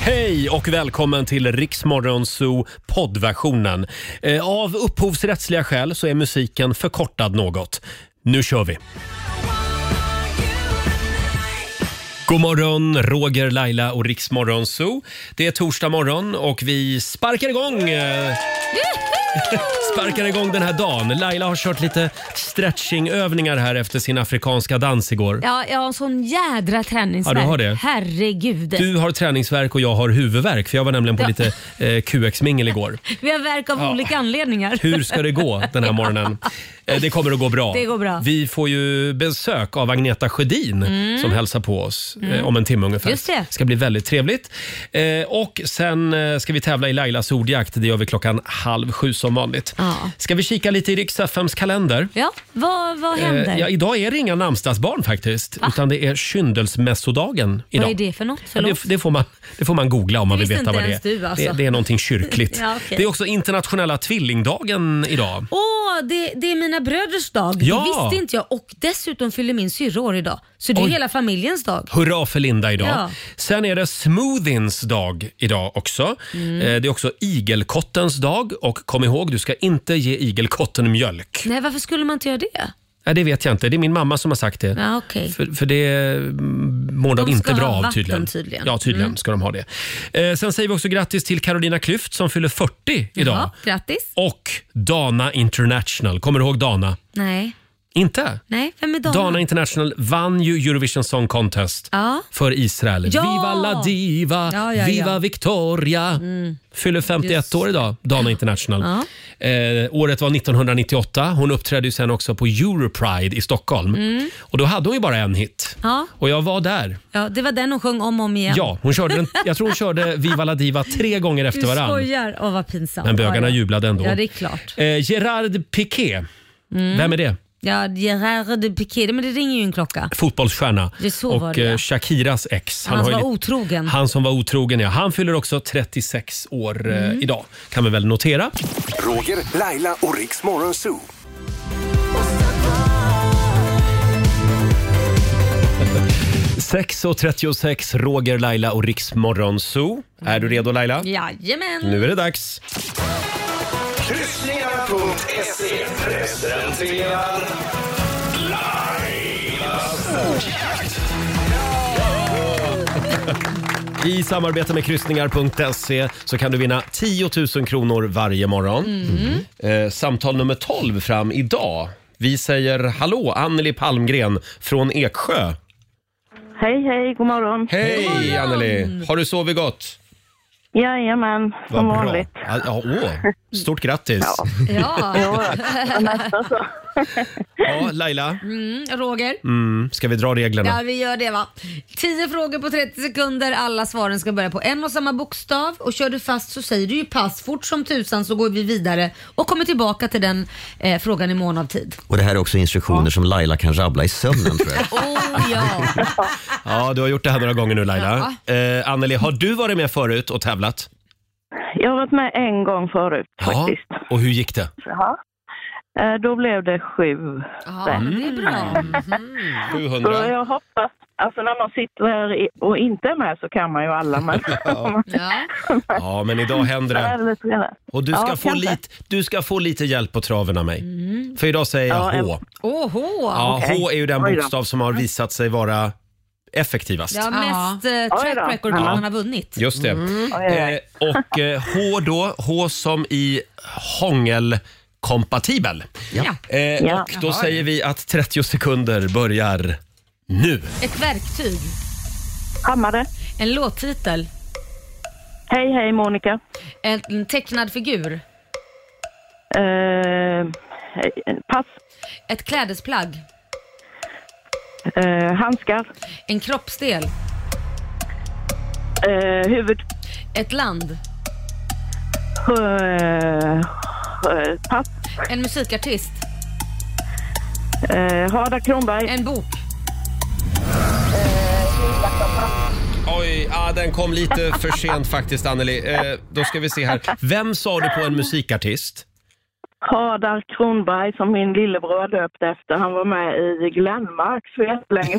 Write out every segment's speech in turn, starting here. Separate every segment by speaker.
Speaker 1: Hej och välkommen till Riksmorgon Zoo poddversionen. Eh, Av upphovsrättsliga skäl så är musiken förkortad något. Nu kör vi! God morgon, Roger, Laila och Riksmorgon Zoo. Det är torsdag morgon och vi sparkar igång eh, sparkar igång den här dagen. Laila har kört lite stretchingövningar här efter sin afrikanska dans igår.
Speaker 2: Ja, jag har en sån jädra träningsvärk.
Speaker 1: Ja, du har det.
Speaker 2: Herregud.
Speaker 1: Du har träningsverk och jag har huvudvärk för jag var nämligen på
Speaker 2: Ja.
Speaker 1: lite eh, QX-mingel igår.
Speaker 2: Vi har verk av
Speaker 1: Ja.
Speaker 2: olika anledningar.
Speaker 1: Hur ska det gå den här morgonen? Eh, Det kommer att gå bra.
Speaker 2: Det går bra.
Speaker 1: Vi får ju besök av Agneta Sjödin
Speaker 2: Mm.
Speaker 1: som hälsar på oss eh,
Speaker 2: Mm.
Speaker 1: om en timme ungefär.
Speaker 2: Just det.
Speaker 1: ska bli väldigt trevligt. Eh, Och sen eh, ska vi tävla i Lailas ordjakt. Det gör vi klockan halv sju som vanligt.
Speaker 2: Ja.
Speaker 1: Ska vi kika lite i riks kalender?
Speaker 2: Ja, vad, vad händer?
Speaker 1: Eh, ja, idag är det inga namnsdagsbarn faktiskt, utan det är kyndelsmässodagen idag.
Speaker 2: Vad är det för något?
Speaker 1: Ja, det,
Speaker 2: Förlåt.
Speaker 1: det, får man, det får man googla om man
Speaker 2: Det
Speaker 1: vill
Speaker 2: visste
Speaker 1: veta
Speaker 2: inte
Speaker 1: vad det är.
Speaker 2: ens du, alltså.
Speaker 1: det, det är någonting kyrkligt.
Speaker 2: Ja, okej.
Speaker 1: Det är också internationella tvillingdagen idag.
Speaker 2: Åh, det, det är mina bröders dag.
Speaker 1: Ja.
Speaker 2: Det visste inte jag. Och dessutom fyller min syrra år idag. Så det är
Speaker 1: Oj.
Speaker 2: hela familjens dag.
Speaker 1: Hurra för Linda idag.
Speaker 2: Ja.
Speaker 1: Sen är det smoothiens dag idag också.
Speaker 2: Mm.
Speaker 1: Eh, Det är också igelkottens dag och kom ihåg, du ska inte ge igelkotten mjölk.
Speaker 2: Nej, varför skulle man inte göra det?
Speaker 1: Nej, det vet jag inte. Det är min mamma som har sagt det.
Speaker 2: Ja, okej.
Speaker 1: För, för det mm, mår de,
Speaker 2: De ska
Speaker 1: inte bra
Speaker 2: ha
Speaker 1: av
Speaker 2: vatten
Speaker 1: tydligen.
Speaker 2: tydligen.
Speaker 1: Ja, tydligen
Speaker 2: Mm.
Speaker 1: ska de ha det. Eh, sen säger vi också grattis till Carolina Klüft som fyller 40 idag.
Speaker 2: Ja, grattis.
Speaker 1: Och Dana International. Kommer du ihåg Dana?
Speaker 2: Nej.
Speaker 1: Inte?
Speaker 2: Nej, vem är
Speaker 1: Dana,
Speaker 2: Dana?
Speaker 1: International vann ju Eurovision Song Contest
Speaker 2: Ja.
Speaker 1: för Israel.
Speaker 2: Ja!
Speaker 1: Viva la diva,
Speaker 2: Ja, Mm. ja,
Speaker 1: viva
Speaker 2: ja.
Speaker 1: Victoria. Fyller 51 år idag, Dana International. Eh, året var 1998. Hon uppträdde ju sen också på Europride i Stockholm.
Speaker 2: Mm.
Speaker 1: Och då hade hon ju bara en hit.
Speaker 2: Ja.
Speaker 1: Och jag var där.
Speaker 2: ja, det var den hon sjöng om och om igen.
Speaker 1: Ja, hon körde den, jag tror hon körde Viva la diva tre gånger efter
Speaker 2: Du
Speaker 1: varann.
Speaker 2: skojar. Åh, vad pinsamt.
Speaker 1: Men bögarna
Speaker 2: Ja, ja.
Speaker 1: jublade ändå.
Speaker 2: Ja, det är klart.
Speaker 1: Eh, Gerard Piqué,
Speaker 2: Mm.
Speaker 1: vem är det?
Speaker 2: Ja, Gerard Piqué, men det ringer ju en klocka.
Speaker 1: Fotbollsstjärna.
Speaker 2: Det är så var
Speaker 1: Och
Speaker 2: det.
Speaker 1: eh, Shakiras ex.
Speaker 2: Han, som
Speaker 1: har ju
Speaker 2: var
Speaker 1: lite-
Speaker 2: otrogen.
Speaker 1: han som var otrogen. Ja. Han fyller också 36 år eh,
Speaker 2: Mm.
Speaker 1: idag, kan vi väl notera.
Speaker 3: Roger, Laila och Riks Morgonzoo.
Speaker 1: Sex och 36, Roger, Laila och Riksmorgon Zoo. Är du redo Laila?
Speaker 2: Jajamän.
Speaker 1: Nu är det dags.
Speaker 3: Kryssningar.se presenterar Lailas ordjakt.
Speaker 1: I samarbete med kryssningar.se E så kan du vinna 10 000 kronor varje morgon.
Speaker 4: Mm.
Speaker 1: Eh, samtal nummer 12 fram idag. Vi säger hallå, Anneli Palmgren från Eksjö.
Speaker 5: Hej, hej, god morgon.
Speaker 1: Hej Anneli! Har du sovit gott?
Speaker 5: Jajamän, som
Speaker 1: Vad
Speaker 5: vanligt.
Speaker 1: Ja, ja, åh. Stort grattis! Ja.
Speaker 2: Ja.
Speaker 5: nästan så.
Speaker 1: Laila,
Speaker 2: Mm, Roger.
Speaker 1: mm, ska vi dra
Speaker 2: Ja,
Speaker 1: reglerna?
Speaker 2: vi gör det va. 10 frågor på 30 sekunder. Alla svaren ska börja på en och samma bokstav. Och kör du fast så säger du ju pass fort som tusan så går vi vidare och kommer tillbaka till den eh, frågan i mån av tid.
Speaker 6: Och det här är också instruktioner som Laila kan rabbla i sömnen tror jag.
Speaker 2: Oh ja.
Speaker 1: Ja, du har gjort det här några gånger nu Laila. Eh, Anneli, har du varit med förut och tävlat?
Speaker 5: Jag har varit med en gång förut faktiskt.
Speaker 1: Och hur gick det?
Speaker 5: Eh, Då blev det sju
Speaker 2: Ja, det är bra. Mm.
Speaker 5: Så
Speaker 1: 700?
Speaker 5: jag hoppas, alltså när man sitter här i- och inte är med så kan man ju alla. Men
Speaker 1: Ja. Ja, men idag händer
Speaker 5: Man
Speaker 1: det.
Speaker 5: är väl lite grann-
Speaker 1: Och du
Speaker 5: Ja,
Speaker 1: ska, få
Speaker 5: kanske.
Speaker 1: lite, du ska få lite hjälp på traven av mig.
Speaker 2: Mm.
Speaker 1: För idag säger jag
Speaker 5: Ja,
Speaker 1: H.
Speaker 2: Oho.
Speaker 1: Ja, H är ju den
Speaker 5: Oj då.
Speaker 1: bokstav som har visat sig vara effektivast.
Speaker 2: Ja, mest eh,
Speaker 5: Oj
Speaker 2: track
Speaker 5: då.
Speaker 2: record man
Speaker 1: Ja.
Speaker 2: har vunnit.
Speaker 1: Just det.
Speaker 5: Oj, oj, oj.
Speaker 1: Eh, och eh, H då, H som i hångelkompatibel.
Speaker 2: Ja.
Speaker 1: Eh,
Speaker 5: Ja.
Speaker 1: Och då säger vi att 30 sekunder börjar nu.
Speaker 2: Ett verktyg.
Speaker 5: Hammare.
Speaker 2: En låttitel.
Speaker 5: Hej, hej Monica.
Speaker 2: En en tecknad figur.
Speaker 5: Eh, hej, pass.
Speaker 2: Ett klädesplagg.
Speaker 5: Eh, handskar.
Speaker 2: En kroppsdel.
Speaker 5: Eh, huvud.
Speaker 2: Ett land.
Speaker 5: Eh, eh, pass.
Speaker 2: En musikartist.
Speaker 5: Eh, Harald Kronberg.
Speaker 2: En bok.
Speaker 1: Oj, ah, den kom lite för sent faktiskt Anneli. Eh, då ska vi se här. Vem sa du på en musikartist?
Speaker 5: Hadar Kronberg som min lillebror döpte efter. Han var med i Glenmark för jättelänge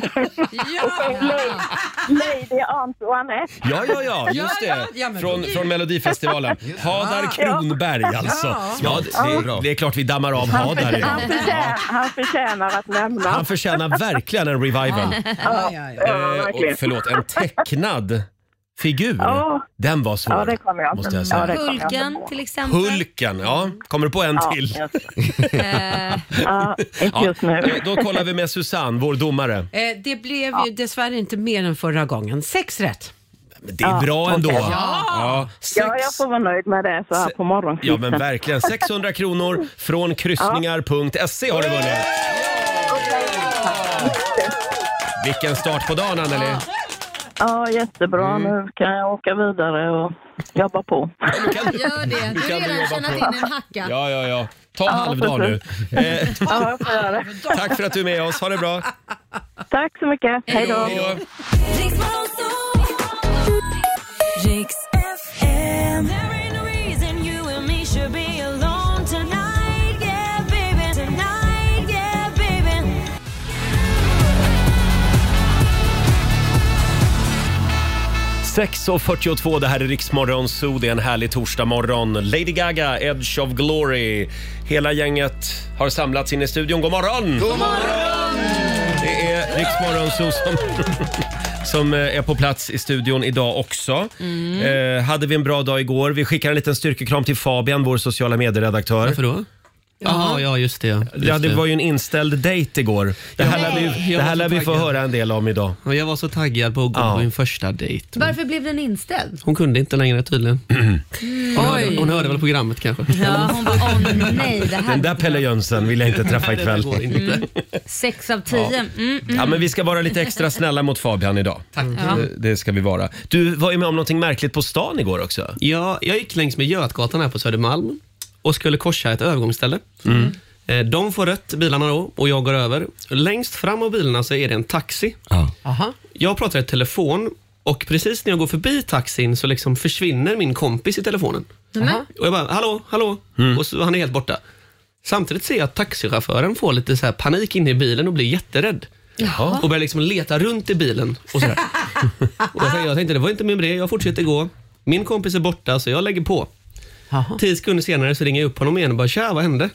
Speaker 5: sedan. Och sen Lady- Lady Antoinette.
Speaker 1: Ja, ja, ja, just det.
Speaker 7: ja, men
Speaker 1: Från,
Speaker 7: då-
Speaker 1: från Melodifestivalen. Hadar Kronberg alltså. Ja, det, det, det är klart vi dammar av
Speaker 5: Han,
Speaker 1: Hadar
Speaker 5: förtjänar, han,
Speaker 1: idag.
Speaker 5: förtjänar, han förtjänar att
Speaker 1: Han
Speaker 5: nämnas.
Speaker 1: förtjänar verkligen en revival.
Speaker 7: Ja, ja, ja.
Speaker 5: Ja,
Speaker 1: Eh,
Speaker 5: verkligen.
Speaker 1: och, förlåt, en tecknad figur.
Speaker 5: Ja.
Speaker 1: Den var svår,
Speaker 5: Ja, det kommer jag
Speaker 1: måste jag
Speaker 5: inte-
Speaker 1: säga.
Speaker 5: ja, det kommer jag inte
Speaker 2: Hulken
Speaker 5: ihåg.
Speaker 2: till exempel.
Speaker 1: Hulken, ja. Kommer du på en
Speaker 5: Ja,
Speaker 1: till?
Speaker 5: just,
Speaker 2: Eh,
Speaker 5: ja, inte
Speaker 1: Ja,
Speaker 5: just nu.
Speaker 1: då, då kollar vi med Susanne, vår domare.
Speaker 7: Eh, Det blev ju dessvärre inte mer än förra gången. Sex rätt.
Speaker 1: Men det är bra ändå. Ja, sex,
Speaker 5: Ja, jag får vara nöjd med det så här på
Speaker 1: ja,
Speaker 5: morgonkvisten.
Speaker 1: men verkligen. 600 kronor från kryssningar.se E har du vunnit. Vilken start på dagen, Anneli.
Speaker 5: Ja,
Speaker 1: Mm.
Speaker 5: jättebra. Nu kan jag åka vidare och jobba på.
Speaker 1: Du kan,
Speaker 2: gör det.
Speaker 1: Du
Speaker 2: Du har
Speaker 1: kan
Speaker 2: redan
Speaker 1: jobba
Speaker 2: tjänat
Speaker 1: på.
Speaker 2: in en hacka.
Speaker 1: ja, ja, ja. Ta halvdag nu. Eh,
Speaker 5: Ja, jag får göra det.
Speaker 1: tack för att du är med oss. Ha det bra.
Speaker 5: Tack så mycket. Hej då.
Speaker 1: Hej då.
Speaker 8: Riks FM. There ain't no reason you and me should be alone tonight, yeah, baby. Tonight, yeah, baby.
Speaker 1: Sex och 42, det här är Riksmorgon Zoo. Det är en härlig torsdagmorgon. Lady Gaga, Edge of Glory. Hela gänget har samlats in i studion. God morgon! God morgon! Det är Riksmorgon Zoo som, som eh, är på plats i studion idag också. Eh, hade vi en bra dag igår. Vi skickar en liten styrkekram till Fabian, vår sociala medieredaktör.
Speaker 9: Varför då? Jaha, ja just det. Just
Speaker 1: Ja, det
Speaker 9: det.
Speaker 1: var ju en inställd dejt igår. Det här
Speaker 9: Jag
Speaker 1: lär
Speaker 9: var-
Speaker 1: vi,
Speaker 9: jag
Speaker 1: det här
Speaker 9: var
Speaker 1: lär
Speaker 9: så
Speaker 1: vi få
Speaker 9: taggad.
Speaker 1: höra en del om idag.
Speaker 9: Ja, Jag var så taggad på att gå
Speaker 1: Ja.
Speaker 9: på min första dejt.
Speaker 2: Varför blev den inställd?
Speaker 9: Hon kunde inte längre tydligen.
Speaker 1: Mm.
Speaker 9: Hon, hörde,
Speaker 7: Oj.
Speaker 9: hon hörde väl programmet kanske?
Speaker 2: Ja, hon bara, åh nej, det här
Speaker 1: Den där Pelle Jönsson vill jag inte träffa
Speaker 9: Nej, det
Speaker 1: ikväll.
Speaker 9: går inte.
Speaker 2: Sex av tio. Mm, mm.
Speaker 1: Ja, men vi ska vara lite extra snälla mot Fabian idag. Mm. Det, det ska vi vara. Du var ju med om någonting märkligt på stan igår också.
Speaker 9: Ja, jag gick längs med Götgatan här på Södermalm och skulle korsa ett övergångsställe.
Speaker 1: Mm.
Speaker 9: Eh, De får rött, bilarna då, och jag går över. Längst fram av bilarna så är det en taxi.
Speaker 6: Ja.
Speaker 7: Aha.
Speaker 9: Jag pratar i telefon och precis när jag går förbi taxin så liksom försvinner min kompis i telefonen.
Speaker 2: Men,
Speaker 9: Och jag bara, hallå, hallå. Och så, han är helt borta. Samtidigt ser jag att taxichauffören får lite så här panik inne i bilen och blir jätterädd.
Speaker 1: Jaha.
Speaker 9: Och börjar liksom leta runt i bilen. Och så där. och jag, tänkte, jag tänkte, det var inte min idé, jag fortsätter gå. Min kompis är borta, så jag lägger på.
Speaker 7: Aha.
Speaker 9: Tio sekunder senare så ringer jag upp honom igen och bara, tja, vad hände?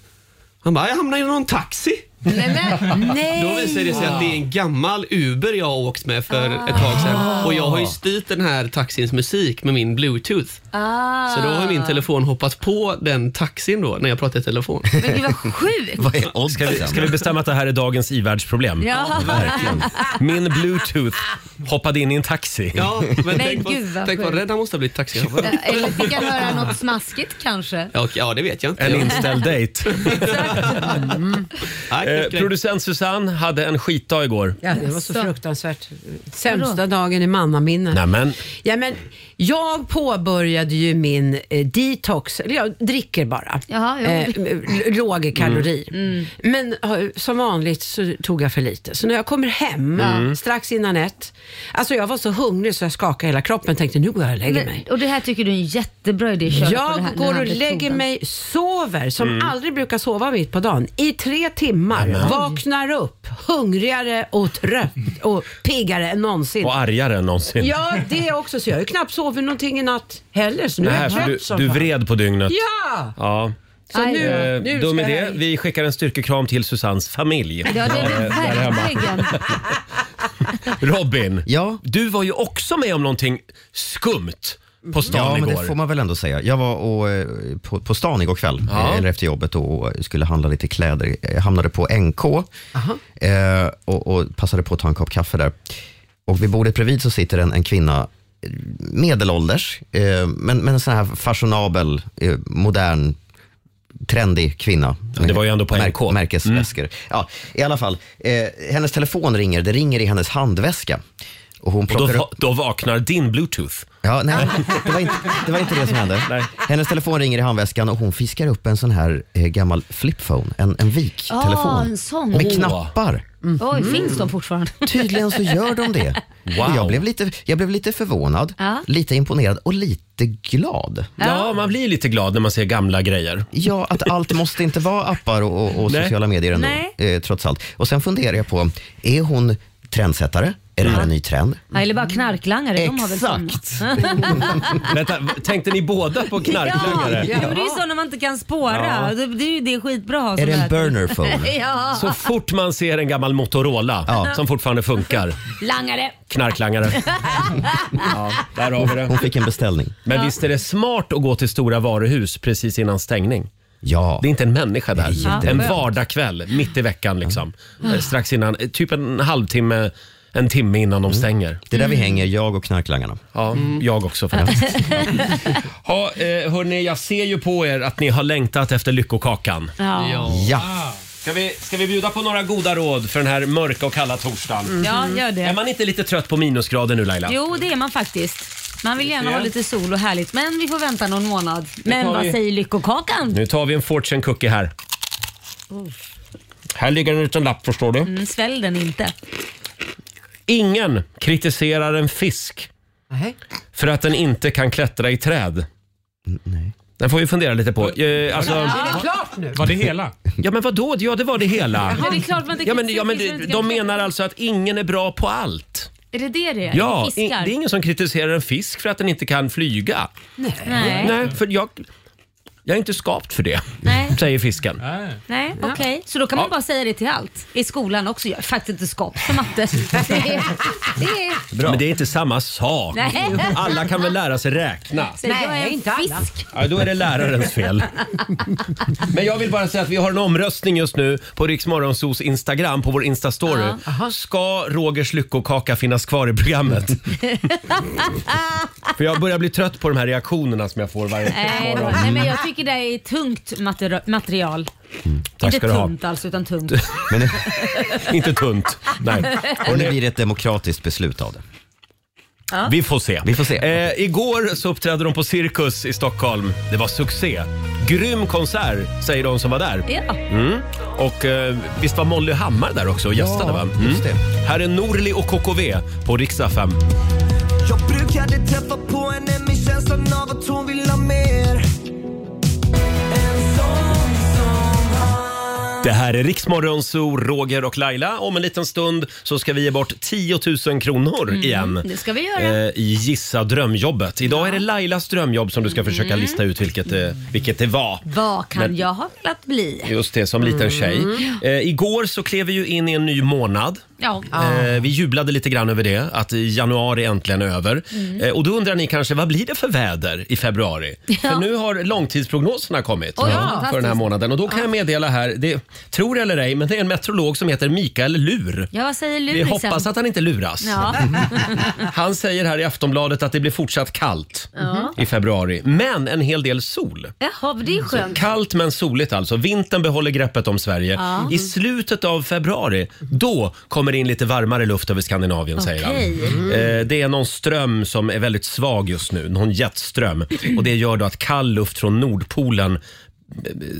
Speaker 9: Han bara, jag hamnade i någon taxi.
Speaker 2: nej, men,
Speaker 9: Då
Speaker 2: nej.
Speaker 9: visar det sig att det är en gammal Uber jag har åkt med för
Speaker 1: Ah.
Speaker 9: ett tag sedan. Och jag har ju styrt den här taxins musik med min bluetooth.
Speaker 2: Ah.
Speaker 9: Så då har min telefon hoppat på den taxin då, när jag pratar i telefon.
Speaker 2: Men gud vad sjukt.
Speaker 6: Vad är
Speaker 1: Ska vi,
Speaker 6: oddsen?
Speaker 1: ska vi bestämma att det här är dagens ivärldsproblem?
Speaker 2: Ja.
Speaker 1: Verkligen. Min bluetooth hoppade in i en taxi.
Speaker 9: Ja, men tänk,
Speaker 2: gud, vad
Speaker 9: vad, tänk vad
Speaker 2: sjukt.
Speaker 9: rädd han måste ha blivit taxichaufför.
Speaker 2: Eh, Eller fick jag höra något smaskigt kanske?
Speaker 9: Ja, och- ja, det vet jag inte.
Speaker 1: En
Speaker 9: Jag,
Speaker 1: inställd dejt.
Speaker 9: nej,
Speaker 1: Eh,
Speaker 9: knäpp, knäpp.
Speaker 1: producent Susanne hade en skitdag igår.
Speaker 7: Ja, det var så
Speaker 2: Jaså.
Speaker 7: fruktansvärt. Sämsta dagen i mannaminne.
Speaker 1: Nämen.
Speaker 7: Ja, men jag påbörjade ju min eh, detox, eller jag dricker bara.
Speaker 2: Jaha, ja. Mm.
Speaker 7: Eh, l- låg kalori. Men eh, som vanligt så tog jag för lite. Så när jag kommer hem strax innan ett, alltså jag var så hungrig så jag skakade hela kroppen tänkte nu går jag och lägger mig.
Speaker 2: Och det här tycker du är en jättebra idé att köra på det
Speaker 7: Jag
Speaker 2: här, den
Speaker 7: går
Speaker 2: här
Speaker 7: och lägger
Speaker 2: metoden.
Speaker 7: mig, sover, som
Speaker 1: Mm.
Speaker 7: aldrig brukar sova mitt på dagen, i tre timmar. Vaknar upp hungrigare och trött och piggare än någonsin.
Speaker 1: Och argare än någonsin.
Speaker 7: Ja, det också. Så jag har ju knappt sovit någonting i natt heller, så nu är
Speaker 1: Nej,
Speaker 7: jag
Speaker 1: för
Speaker 7: trött
Speaker 1: du,
Speaker 7: som
Speaker 1: du
Speaker 7: fan.
Speaker 1: vred på dygnet.
Speaker 7: Ja!
Speaker 1: Ja.
Speaker 7: Så
Speaker 2: Aj,
Speaker 7: nu,
Speaker 2: ja.
Speaker 1: Eh,
Speaker 7: nu
Speaker 1: Då med
Speaker 7: ska jag
Speaker 1: det,
Speaker 7: iväg.
Speaker 1: vi skickar en styrkekram till Susannes familj.
Speaker 2: Ja, det är det
Speaker 1: Eh, där hemma.
Speaker 2: verkligen.
Speaker 1: Robin,
Speaker 6: Ja?
Speaker 1: du var ju också med om någonting skumt på stan
Speaker 6: Ja, men
Speaker 1: igår.
Speaker 6: det får man väl ändå säga. Jag var och, eh, på, på stan igår kväll,
Speaker 1: Ja.
Speaker 6: eh, eller efter jobbet, och skulle handla lite kläder. Jag hamnade på NK eh, och, och passade på att ta en kopp kaffe där. Och vid bordet bredvid så sitter en, en kvinna, eh, medelålders, eh, men, men en sån här fashionabel, eh, modern, trendig kvinna.
Speaker 1: det var ju ändå på Mm. NK.
Speaker 6: Märkesväskor. Ja, I alla fall, eh, hennes telefon ringer, det ringer i hennes handväska. Och hon
Speaker 1: Och
Speaker 6: plockar
Speaker 1: då,
Speaker 6: upp
Speaker 1: va- då vaknar din bluetooth.
Speaker 6: Ja, nej, det var, inte, det var inte det som hände. Hennes telefon ringer i handväskan och hon fiskar upp en sån här eh, gammal flipphone, en, en viktelefon.
Speaker 2: Ah, en sån.
Speaker 6: Med
Speaker 1: Åh.
Speaker 6: knappar.
Speaker 2: Mm. Oj, finns de fortfarande?
Speaker 6: Tydligen så gör de det.
Speaker 1: Wow.
Speaker 6: Och Jag, blev lite, jag blev lite förvånad,
Speaker 2: Ja.
Speaker 6: lite imponerad och lite glad.
Speaker 1: Ja, man blir lite glad när man ser gamla grejer.
Speaker 6: Ja, att allt måste inte vara appar och, och, och
Speaker 1: Nej.
Speaker 6: sociala medier ändå,
Speaker 2: Nej.
Speaker 6: eh, trots allt. Och sen funderar jag på, är hon trendsättare? Är det här en ny trend?
Speaker 2: Ja, eller bara knarklangare. De har väl såna.
Speaker 1: Vänta, v- tänkte ni båda på knarklangare?
Speaker 2: Ja, men det är ju sådana man inte kan spåra. Det, det är ju det är skitbra att ha
Speaker 6: Är det
Speaker 2: såna
Speaker 6: en
Speaker 2: här-
Speaker 6: burner phone?
Speaker 2: Ja,
Speaker 1: Så fort man ser en gammal Motorola som fortfarande funkar,
Speaker 2: langare.
Speaker 1: knarklangare. Ja, där har vi det.
Speaker 6: Hon fick en beställning.
Speaker 1: Men visst är det smart att gå till stora varuhus precis innan stängning?
Speaker 6: Ja.
Speaker 1: Det är inte en människa där.
Speaker 6: Ja, det är
Speaker 1: en
Speaker 6: skönt.
Speaker 1: vardagkväll, mitt i veckan liksom. Eh, Strax innan, eh, typ en halvtimme, en timme innan
Speaker 2: Mm.
Speaker 1: de stänger.
Speaker 6: Det är där vi hänger, jag och knarklangarna.
Speaker 1: Ja, jag också faktiskt. ha, eh, hörni, jag ser ju på er att ni har längtat efter lyckokakan.
Speaker 2: Ja.
Speaker 9: Ja.
Speaker 6: Ja,
Speaker 1: Ska vi, ska vi bjuda på några goda råd för den här mörka och kalla torsdagen?
Speaker 2: ja, gör
Speaker 1: Är
Speaker 2: det.
Speaker 1: man inte lite trött på minusgrader nu Laila?
Speaker 2: Mm. Jo, det är man faktiskt. Man vill gärna
Speaker 1: Ja.
Speaker 2: ha lite sol och härligt, men vi får vänta någon månad. Men
Speaker 1: tar
Speaker 2: vad
Speaker 1: vi-
Speaker 2: säger Lyckokakan?
Speaker 1: Nu tar vi en fortune cookie här. Här ligger en liten lapp förstår du.
Speaker 2: Mm, svälj den inte.
Speaker 1: Ingen kritiserar en fisk
Speaker 4: Nej.
Speaker 1: för att den inte kan klättra i träd.
Speaker 6: nej.
Speaker 1: Den får vi fundera lite på. Eh, alltså,
Speaker 4: Är det klart nu?
Speaker 8: Var det hela?
Speaker 1: ja men vadå? Ja det var det hela.
Speaker 2: Men det är klart man inte
Speaker 1: Ja, men,
Speaker 2: kan-
Speaker 1: ja, men
Speaker 2: fiskar
Speaker 1: de-
Speaker 2: inte
Speaker 1: de
Speaker 2: kan-
Speaker 1: menar alltså att ingen är bra på allt.
Speaker 2: Är det det det är?
Speaker 1: Ja, i, det
Speaker 2: Fiskar?
Speaker 1: är ingen som kritiserar en fisk för att den inte kan flyga.
Speaker 2: Nej, nej,
Speaker 1: Nej, för jag, jag är inte skapt för det,
Speaker 2: nej,
Speaker 1: säger fisken.
Speaker 2: okej. Så då kan man bara säga det till allt. I skolan också. Jag är faktiskt inte skap för matte. Det är, det är,
Speaker 1: Men det är inte samma sak.
Speaker 2: nej.
Speaker 1: Alla kan väl lära sig räkna?
Speaker 2: Så jag är inte fisk.
Speaker 1: Ja, då är det lärarens fel. Men jag vill bara säga att vi har en omröstning just nu på Riksmorgonsos Instagram, på vår Instastory. Ska Rogers lyckokaka finnas kvar i programmet? För jag börjar bli trött på de här reaktionerna som jag får varje
Speaker 2: Nej,
Speaker 1: morgon.
Speaker 2: nej, men jag tycker det är tungt materi- material.
Speaker 1: Mm, Tack
Speaker 2: inte
Speaker 1: ska du ha.
Speaker 2: tunt alltså, utan tungt.
Speaker 6: Men nu,
Speaker 1: Inte tunt. Nej.
Speaker 6: och nu blir det ett demokratiskt beslut av det.
Speaker 1: Vi får se.
Speaker 6: Vi får se.
Speaker 1: Eh, igår så uppträdde de på Cirkus i Stockholm. Det var succé. Grym konsert, säger de som var där.
Speaker 2: Ja.
Speaker 1: Och eh, visst var Molly Hammar där också och gästade va? Mm.
Speaker 6: just det.
Speaker 1: Här är Norli och KKV på riksdag 5.
Speaker 10: Jag brukade träffa på henne med känslan av att hon vill ha mer En sån som han
Speaker 1: Det här är Riksmorgon Zoo, Roger och Laila. Om en liten stund så ska vi ge bort 10 000 kronor igen.
Speaker 2: Mm, det ska vi göra.
Speaker 1: eh, I Gissa drömjobbet. Idag är det Lailas drömjobb som du
Speaker 2: Mm.
Speaker 1: ska försöka lista ut vilket, det- vilket det var.
Speaker 2: Vad kan
Speaker 1: Men-
Speaker 2: jag ha velat bli?
Speaker 1: Just det, som
Speaker 2: Mm.
Speaker 1: liten tjej. Eh, igår så klev vi ju in i en ny månad.
Speaker 2: Ja.
Speaker 1: Eh, vi jublade lite grann över det, att januari äntligen är över.
Speaker 2: Mm.
Speaker 1: Eh, och då undrar ni kanske, vad blir det för väder i februari? För nu har långtidsprognoserna kommit
Speaker 2: Oj,
Speaker 1: för den här
Speaker 2: fantastiskt.
Speaker 1: månaden. Och då kan jag meddela här, det, tror eller ej, men det är en meteorolog som heter Mikael Lur.
Speaker 2: Ja, vad säger liksom?
Speaker 1: Vi
Speaker 2: Lurisen?
Speaker 1: hoppas att han inte luras.
Speaker 2: Ja.
Speaker 1: Han säger här i Aftonbladet att det blir fortsatt kallt i februari, men en hel del sol.
Speaker 2: Jaha, men det är skönt.
Speaker 1: Kallt men soligt alltså. Vintern behåller greppet om Sverige. I slutet av februari, då kommer det in lite varmare luft över Skandinavien säger han.
Speaker 2: Okej.
Speaker 1: Eh, Det är någon ström som är väldigt svag just nu, någon jetström. Och det gör då att kall luft från Nordpolen eh,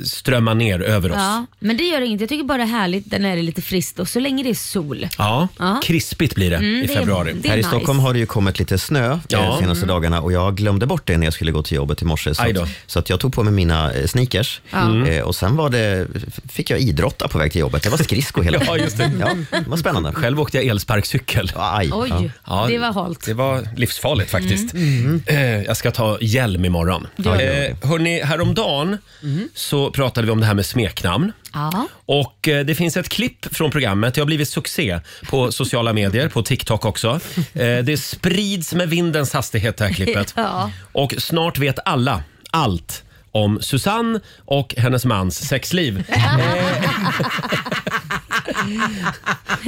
Speaker 1: strömmar ner över oss. Ja.
Speaker 2: Ja, men det gör inget. Jag tycker bara det är härligt när det är lite friskt och så länge det är sol. Ja. Mm,
Speaker 1: krispigt blir det i
Speaker 2: det är-
Speaker 1: februari.
Speaker 2: det är
Speaker 6: Här i
Speaker 2: nice.
Speaker 6: Stockholm har det ju kommit lite snö eh,
Speaker 1: Ja. Mm.
Speaker 6: senaste dagarna och jag glömde bort det när jag skulle gå till jobbet i morse. Så,
Speaker 1: Aj då. Mm.
Speaker 6: att, så att jag tog på mig mina eh, sneakers eh, och sen var det, fick jag idrotta på väg till jobbet. Det var skridsko hela
Speaker 1: Ja, just det.
Speaker 6: Ja, det var spännande.
Speaker 1: Själv åkte jag elsparkcykel.
Speaker 6: Aj.
Speaker 2: Oj,
Speaker 6: Ja.
Speaker 1: Ja,
Speaker 2: det var halt.
Speaker 1: Det var livsfarligt faktiskt.
Speaker 2: Mm.
Speaker 1: Eh, Jag ska ta hjälm imorgon.
Speaker 6: Ja.
Speaker 1: Eh, hörni, häromdagen
Speaker 2: Mm.
Speaker 1: så pratade vi om det här med smeknamn.
Speaker 2: Ja.
Speaker 1: Och eh, det finns ett klipp från programmet. Det har blivit succé på sociala medier, på TikTok också. Eh, Det sprids med vindens hastighet det här klippet.
Speaker 2: Ja.
Speaker 1: Och snart vet alla allt om Susanne och hennes mans sexliv. Eh,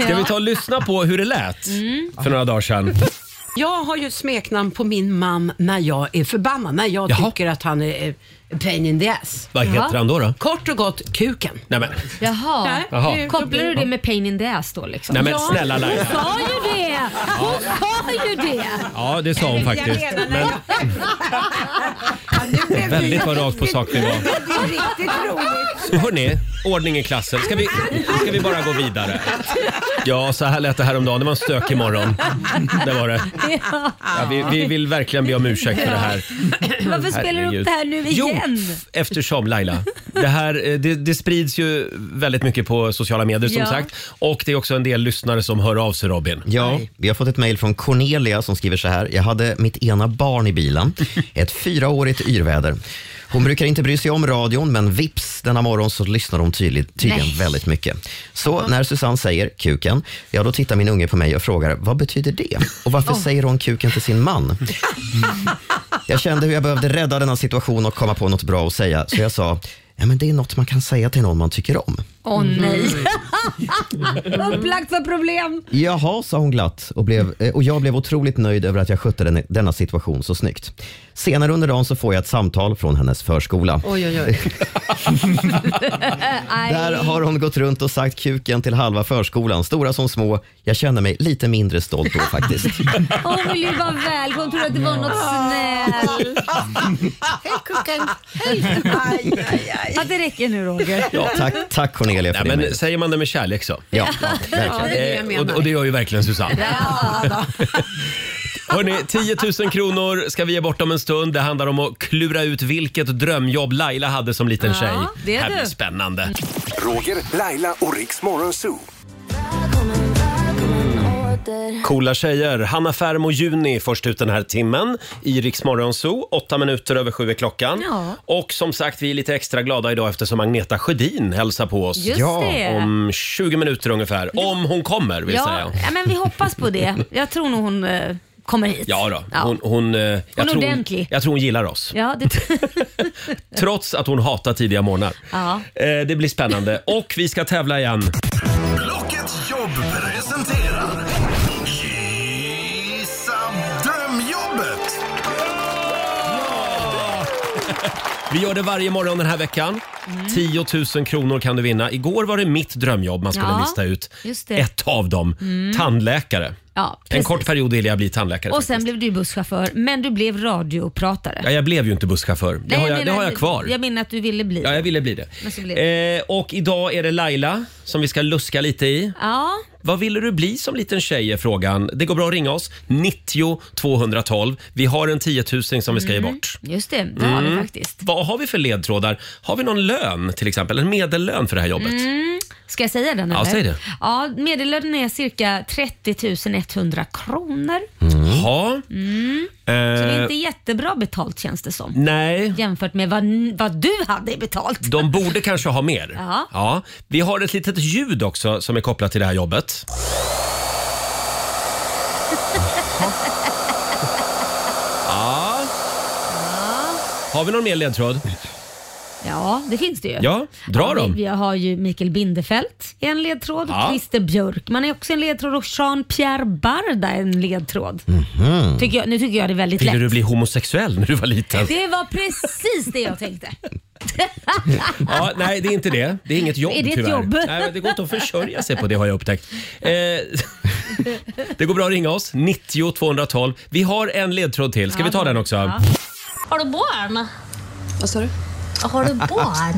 Speaker 1: Ska vi ta och lyssna på hur det lät
Speaker 9: Mm.
Speaker 1: för några dagar sedan?
Speaker 4: Jag har ju ett smeknamn på min man när jag är förbannad, när jag
Speaker 1: Jaha.
Speaker 4: tycker att han är eh, pain in the ass.
Speaker 1: Vad heter han då? då?
Speaker 4: Kort och gott, kuken.
Speaker 1: Nej men,
Speaker 2: Jaha.
Speaker 1: Jaha.
Speaker 2: Kopplar du det med pain in the ass då liksom?
Speaker 1: nej, men
Speaker 4: Ja.
Speaker 1: snälla Laila.
Speaker 2: Hon sa ju det! Hon sa gör ju det.
Speaker 1: Ja, det sa hon faktiskt. Men
Speaker 4: blev
Speaker 1: väldigt vad rakt på sak vi var.
Speaker 4: Det är riktigt roligt.
Speaker 1: Hörni, ordning i klassen. Ska vi, ska vi bara gå vidare? Ja, så här lät det häromdagen. Det var en stökig morgon. Det var det.
Speaker 2: Ja.
Speaker 1: Ja, vi, vi vill verkligen be om ursäkt för det här.
Speaker 2: Varför spelar du
Speaker 1: Herregud.
Speaker 2: upp det här nu
Speaker 1: Jo,
Speaker 2: igen?
Speaker 1: f- eftersom Laila, det här eh, det, det sprids ju väldigt mycket på sociala medier som
Speaker 2: Ja.
Speaker 1: sagt. Och det är också en del lyssnare som hör av sig Robin.
Speaker 6: Ja, vi har fått ett mejl från Cornelia som skriver så här. Jag hade mitt ena barn i bilen, ett fyraårigt yrväder. Hon brukar inte bry sig om radion, men vips, denna morgon så lyssnar hon tydligt, tydligen
Speaker 2: Nej.
Speaker 6: väldigt mycket. Så när Susanne säger kuken, ja då tittar min unge på mig och frågar vad betyder det? Och varför säger hon kuken till sin man? Jag kände hur jag behövde rädda denna situation och komma på något bra att säga, så jag sa, ja men det är något man kan säga till någon man tycker om.
Speaker 2: Åh
Speaker 1: Mm.
Speaker 2: nej. Upplagt för problem.
Speaker 6: Jaha, sa hon glatt och, blev, eh, och jag blev otroligt nöjd över att jag skötte den, denna situation så snyggt. Senare under dagen så får jag ett samtal från hennes förskola.
Speaker 4: Oj, oj, oj.
Speaker 2: Aj.
Speaker 6: Där har hon gått runt och sagt kuken till halva förskolan, stora som små. Jag känner mig lite mindre stolt då faktiskt.
Speaker 2: Hon vill ju vara väl. Hon trodde att det var något snällt. Hej kucken. Hej.
Speaker 4: Aj, aj, aj.
Speaker 2: Ja, det räcker nu Roger.
Speaker 6: Tack, tack Cornelia för
Speaker 1: Nej,
Speaker 6: din
Speaker 1: men
Speaker 6: mejl.
Speaker 1: säger man det med kärlek så.
Speaker 6: Ja, ja, verkligen.
Speaker 4: det är det jag
Speaker 1: Eh, och,
Speaker 4: menar.
Speaker 1: och det gör ju verkligen Susanne.
Speaker 2: Ja, då.
Speaker 1: Hörni, 10 000 kronor ska vi ge bort om en stund. Det handlar om att klura ut vilket drömjobb Laila hade som liten
Speaker 2: Ja,
Speaker 1: tjej.
Speaker 2: det är
Speaker 1: här blir
Speaker 2: du.
Speaker 1: spännande.
Speaker 3: Roger, Laila och Riks Morgonzoo.
Speaker 11: Välkommen, välkommen åter.
Speaker 1: Coola tjejer. Hanna Färm och Juni först ut den här timmen i Rix Morgon Zoo. Åtta minuter över sju är klockan.
Speaker 2: Ja.
Speaker 1: Och som sagt, vi är lite extra glada idag eftersom Agneta Sjödin hälsar på oss.
Speaker 2: Just det.
Speaker 1: Om 20 minuter ungefär. Om hon kommer vill
Speaker 2: Ja,
Speaker 1: säga.
Speaker 2: ja, men vi hoppas på det. Jag tror nog hon eh, kommer hit.
Speaker 1: Ja då. Hon, hon, eh, jag,
Speaker 2: Hon är
Speaker 1: tror
Speaker 2: ordentlig.
Speaker 1: jag tror hon gillar oss.
Speaker 2: Ja, det...
Speaker 1: Trots att hon hatar tidiga morgnar.
Speaker 2: Ja.
Speaker 1: Eh, det blir spännande. Och vi ska tävla igen.
Speaker 3: Blocket jobb presenterar Gissa drömjobbet.
Speaker 1: Vi gör det varje morgon den här veckan.
Speaker 2: Mm.
Speaker 1: 10 000 kronor kan du vinna. Igår var det mitt drömjobb man skulle
Speaker 2: Ja,
Speaker 1: lista ut.
Speaker 2: just det. Mm.
Speaker 1: Ett av dem. Tandläkare.
Speaker 2: Ja,
Speaker 1: en
Speaker 2: precis.
Speaker 1: kort period ville jag bli tandläkare.
Speaker 2: Och sen
Speaker 1: faktiskt.
Speaker 2: blev du busschaufför, men du blev radiopratare.
Speaker 1: ja, jag blev ju inte busschaufför. Det,
Speaker 2: Nej,
Speaker 1: har, jag, det
Speaker 2: menar-
Speaker 1: har jag kvar.
Speaker 2: Jag menar att du ville bli.
Speaker 1: Ja,
Speaker 2: Ja,
Speaker 1: jag ville bli det.
Speaker 2: Men så blev
Speaker 1: Eh, och idag är det Laila som vi ska luska lite i. Vad ville du bli som liten tjej är frågan. Det går bra att ringa oss. 90 212. Vi har en 10 000 som vi ska ge bort.
Speaker 2: just det. Det har
Speaker 1: Mm.
Speaker 2: vi faktiskt.
Speaker 1: Vad har vi för ledtrådar? Har vi någon lön till exempel? En medellön för det här jobbet?
Speaker 2: Ska jag säga den
Speaker 1: Ja,
Speaker 2: eller?
Speaker 1: säg det.
Speaker 2: Ja, medellönen är cirka 30 100 kronor.
Speaker 1: Jaha.
Speaker 2: Så det är
Speaker 1: Eh,
Speaker 2: inte jättebra betalt känns det som.
Speaker 1: nej,
Speaker 2: Jämfört med vad, vad du hade betalt.
Speaker 1: de borde kanske ha mer.
Speaker 2: Ja.
Speaker 1: Ja. Vi har ett litet ljud också som är kopplat till det här jobbet. Ja. Har vi någon mer ledtråd?
Speaker 2: Ja, det finns det ju.
Speaker 1: Ja, dra
Speaker 2: vi-
Speaker 1: dem.
Speaker 2: Vi har ju Mikael Bindefeld i en ledtråd.
Speaker 1: Ja.
Speaker 2: Christer Björkman är också en ledtråd och Jean-Pierre Barda är en ledtråd. Tycker jag, nu tycker jag det är väldigt
Speaker 1: Ville
Speaker 2: lätt.
Speaker 1: Mhm. du bli homosexuell när du var liten?
Speaker 2: Det var precis det jag tänkte.
Speaker 1: Ja, nej, det är inte det. Det är inget jobb
Speaker 2: Är det ett
Speaker 1: tyvärr.
Speaker 2: jobb?
Speaker 1: Nej, men det går inte att försörja sig på det har jag upptäckt. Eh, det går bra att ringa oss. 90 212. Vi har en ledtråd till. Ska vi ta den också?
Speaker 8: Har du barn?
Speaker 12: Vad sa du?
Speaker 8: Har du barn?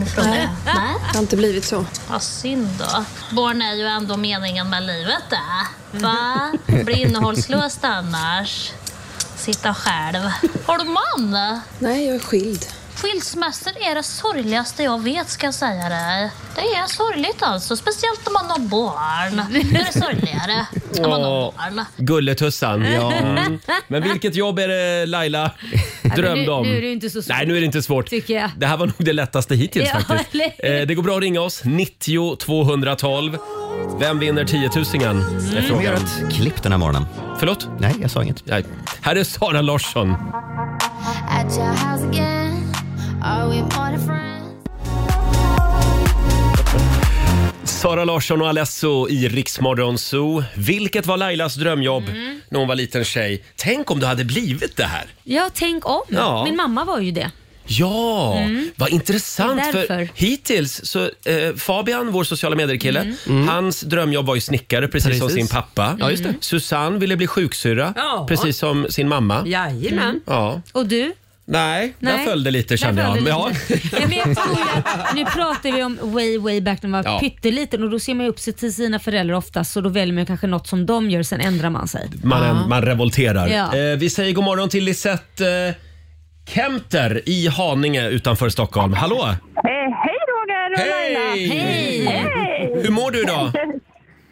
Speaker 8: frågar jag. Nej,
Speaker 12: Det har inte blivit så.
Speaker 8: vad synd då. Barn är ju ändå meningen med livet det.
Speaker 12: Mm.
Speaker 8: Va? Blir innehållslöst annars. Sitta själv. Har du man?
Speaker 12: Nej, jag är skild.
Speaker 8: Skilsmässor är det sorgligaste jag vet ska jag säga dig. Det är sorgligt alltså, speciellt om man har barn. Det är det sorgligare om man har
Speaker 1: Åh.
Speaker 8: barn.
Speaker 1: Gulletussan. Ja. Mm. Men vilket jobb är det Laila drömde om?
Speaker 2: nu- nu är det ju inte så svårt,
Speaker 1: Nej, nu är det inte svårt.
Speaker 2: tycker jag.
Speaker 1: Det här var nog det lättaste hittills
Speaker 2: Ja,
Speaker 1: faktiskt.
Speaker 2: eller hur?
Speaker 1: Eh, det går bra att ringa oss. 90 212. Vem vinner 10 000
Speaker 2: Mm.
Speaker 1: är
Speaker 6: Får vi göra
Speaker 1: frågan.
Speaker 6: ett klipp den här morgonen?
Speaker 1: Förlåt?
Speaker 6: Nej, jag sa inget.
Speaker 1: Nej. Här är Sara Larsson.
Speaker 11: At your house again. Are we more than friends?
Speaker 1: Sara Larsson och Alesso i Riksmorgon Zoo. Vilket var Lailas drömjobb
Speaker 2: Mm.
Speaker 1: när hon var liten tjej? Tänk om du hade blivit det här.
Speaker 2: Ja, tänk om.
Speaker 1: Ja.
Speaker 2: Min mamma var ju det.
Speaker 1: Ja,
Speaker 11: Mm.
Speaker 1: vad intressant.
Speaker 11: Det är
Speaker 1: För
Speaker 11: därför.
Speaker 1: hittills, så, eh, Fabian, vår sociala medier-kille,
Speaker 2: Mm.
Speaker 1: hans drömjobb var ju snickare, precis, som
Speaker 9: Mm. Precis.
Speaker 1: sin pappa.
Speaker 9: Ja, just det.
Speaker 1: Susanne ville bli sjuksyrra,
Speaker 2: Ja.
Speaker 1: precis som sin mamma.
Speaker 4: Jajamän.
Speaker 12: Mm.
Speaker 1: Ja.
Speaker 2: Och du?
Speaker 1: Nej, där
Speaker 2: Nej.
Speaker 1: föll det lite kände
Speaker 2: Där
Speaker 1: jag.
Speaker 2: föll
Speaker 1: Men
Speaker 2: det
Speaker 1: Ja.
Speaker 2: lite. Nej, men jag tror ju att, nu pratar vi om way, way back när man var
Speaker 1: Ja.
Speaker 2: pytteliten och då ser man ju upp sig till sina föräldrar oftast så då väljer man ju kanske något som de gör, sen ändrar man sig.
Speaker 1: Man, man revolterar.
Speaker 2: Ja.
Speaker 1: Eh, vi säger god morgon till Lisette eh, Kemter i Haninge utanför Stockholm. Hallå!
Speaker 13: Eh, hej Roger och
Speaker 1: Hej!
Speaker 13: Laila!
Speaker 1: Hej!
Speaker 13: Hej!
Speaker 1: Hur mår du idag?